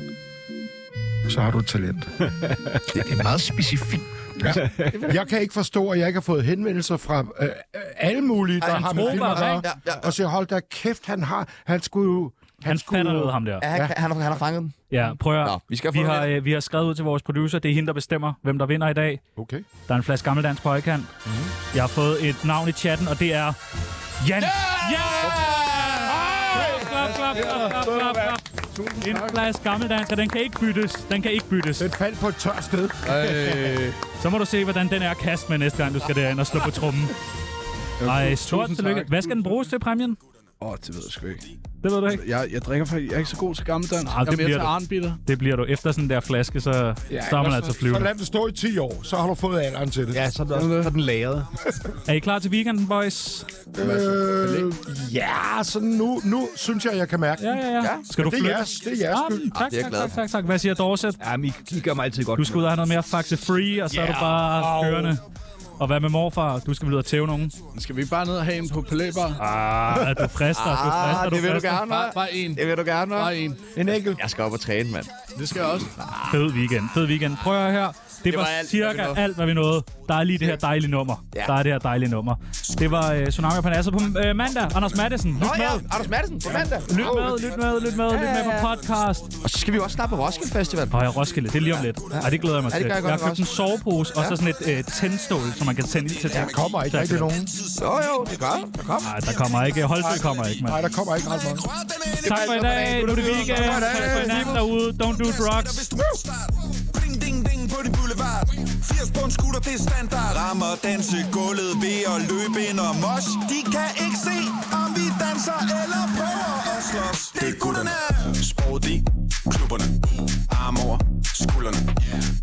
[SPEAKER 7] så har du et talent.
[SPEAKER 1] Det er meget specifikt.
[SPEAKER 3] Jeg kan ikke forstå, at jeg ikke har fået henvendelser fra øh, øh, alle mulige, der
[SPEAKER 1] Ej, han
[SPEAKER 3] har
[SPEAKER 2] troede
[SPEAKER 3] med film
[SPEAKER 2] bare,
[SPEAKER 3] at gøre,
[SPEAKER 1] ikke? Ja, ja.
[SPEAKER 3] og siger, hold da kæft, han har, han skulle jo...
[SPEAKER 2] Han fatter noget, ham der.
[SPEAKER 1] Ja, han, han, har- han har fanget den.
[SPEAKER 2] Ja, prøv at...
[SPEAKER 1] Nå, vi skal
[SPEAKER 2] vi,
[SPEAKER 1] få
[SPEAKER 2] har, øh, vi har skrevet ud til vores producer, det er hende, der bestemmer, hvem der vinder i dag.
[SPEAKER 3] Okay.
[SPEAKER 2] Der er en flaske gammeldansk på højkant.
[SPEAKER 3] Mhm.
[SPEAKER 2] Mm-hmm. Jeg har fået et navn i chatten, og det er... Jan! Yeah! Yeah! Klap, klap, klap, klap, klap, klap. En flaske gammeldansk, og den kan ikke byttes. Den kan ikke byttes.
[SPEAKER 3] Den faldt på et tørt sted.
[SPEAKER 2] Så må du se, hvordan den er at kaste med næste gang, du skal derind og slå på trummen. Ej, stort
[SPEAKER 6] tusind
[SPEAKER 2] tillykke.
[SPEAKER 6] tak.
[SPEAKER 2] Hvad skal den bruges til, præmien?
[SPEAKER 6] Åh, oh, det ved jeg sgu ikke.
[SPEAKER 2] Det ved du ikke.
[SPEAKER 6] Jeg, jeg drikker faktisk, jeg er ikke så god til gammel dansk.
[SPEAKER 2] Ah,
[SPEAKER 6] Jeg
[SPEAKER 2] det
[SPEAKER 6] er mere
[SPEAKER 2] bliver
[SPEAKER 6] til
[SPEAKER 2] du.
[SPEAKER 6] arnbitter.
[SPEAKER 2] Det bliver du. Efter sådan der flaske, så, så er man altså
[SPEAKER 3] Så
[SPEAKER 2] flyvende.
[SPEAKER 3] lad den stå i 10 år, så har du fået alderen til det.
[SPEAKER 5] Ja, så er, det også, så er den lagret.
[SPEAKER 2] Er I klar til weekenden, boys?
[SPEAKER 3] Øh, ja, så nu, nu synes jeg, jeg kan mærke
[SPEAKER 2] Ja,
[SPEAKER 3] den.
[SPEAKER 2] ja, ja. Skal du
[SPEAKER 3] Det er
[SPEAKER 2] flytte?
[SPEAKER 3] jeres, det er jeres
[SPEAKER 2] Ah,
[SPEAKER 3] skyld.
[SPEAKER 2] tak,
[SPEAKER 1] det er jeg
[SPEAKER 2] tak,
[SPEAKER 1] glad
[SPEAKER 2] tak,
[SPEAKER 1] for.
[SPEAKER 2] tak, tak. Hvad siger Dorset?
[SPEAKER 5] Jamen, I, I gør mig altid godt.
[SPEAKER 2] Du skal ud og have noget mere Faxe Free, og så er du bare kørende. Og hvad med morfar? Du skal vel ud og tæve nogen.
[SPEAKER 6] Skal vi bare ned og have en på palæbar?
[SPEAKER 2] Ah, du frister, du frister,
[SPEAKER 1] Ah,
[SPEAKER 2] du
[SPEAKER 1] det vil du
[SPEAKER 2] frister.
[SPEAKER 1] gerne,
[SPEAKER 6] Bare,
[SPEAKER 1] hva'?
[SPEAKER 6] bare en.
[SPEAKER 1] Det vil du gerne, hva'?
[SPEAKER 6] Bare en.
[SPEAKER 3] En enkelt.
[SPEAKER 1] Jeg skal op og træne, mand.
[SPEAKER 6] Det skal jeg også.
[SPEAKER 2] Fed weekend, fed weekend. Prøv at høre her. Det, det
[SPEAKER 1] var
[SPEAKER 2] var, var
[SPEAKER 1] alt, hvad vi
[SPEAKER 2] cirka
[SPEAKER 1] nåede.
[SPEAKER 2] alt, hvad vi nåede. Der er lige det her dejlige nummer. Ja.
[SPEAKER 1] Ja.
[SPEAKER 2] Der er det her dejlige nummer. Det var øh, Tsunami og Panasset på øh, mandag. Anders Madsen, lyt
[SPEAKER 1] Nå ja,
[SPEAKER 2] med.
[SPEAKER 1] Anders Madsen på mandag.
[SPEAKER 2] Lyt med, lyt med, lyt med, lyt med på podcast.
[SPEAKER 1] Og så skal vi jo også snart på Roskilde Festival.
[SPEAKER 2] Og jeg Roskilde, det er lige om lidt. Ej, det glæder jeg mig
[SPEAKER 1] Ja,
[SPEAKER 2] til.
[SPEAKER 1] det gør
[SPEAKER 2] Jeg
[SPEAKER 1] jeg godt
[SPEAKER 2] har købt
[SPEAKER 1] nok
[SPEAKER 2] en sovepose, og så sådan et øh, tændstål, som man kan tænde til. Der
[SPEAKER 3] Kommer ikke rigtig nogen.
[SPEAKER 1] Jo, jo, det gør jeg. Der kommer.
[SPEAKER 2] Nej, der kommer ikke. Holdsø kommer ikke, mand.
[SPEAKER 3] Nej, der kommer ikke ret mange.
[SPEAKER 2] Tak for i dag. Nu er det weekend. Tak for i nat derude. Don't do drugs.
[SPEAKER 8] Ding, ding, ding på din boulevard 80 på en scooter, det er standard Rammer danse gulvet ved at løbe ind og mos De kan ikke se, om vi danser eller prøver at slås Det er gutterne Sport i klubberne Mm. Arm over skuldrene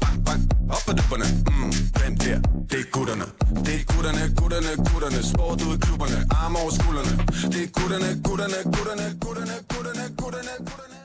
[SPEAKER 8] Bang, bang, op på dupperne mm, Den der, det er gutterne Det er gutterne, gutterne, gutterne Sport ud i klubberne, arm over skuldrene Det er gutterne, gutterne, gutterne, gutterne, gutterne, gutterne, gutterne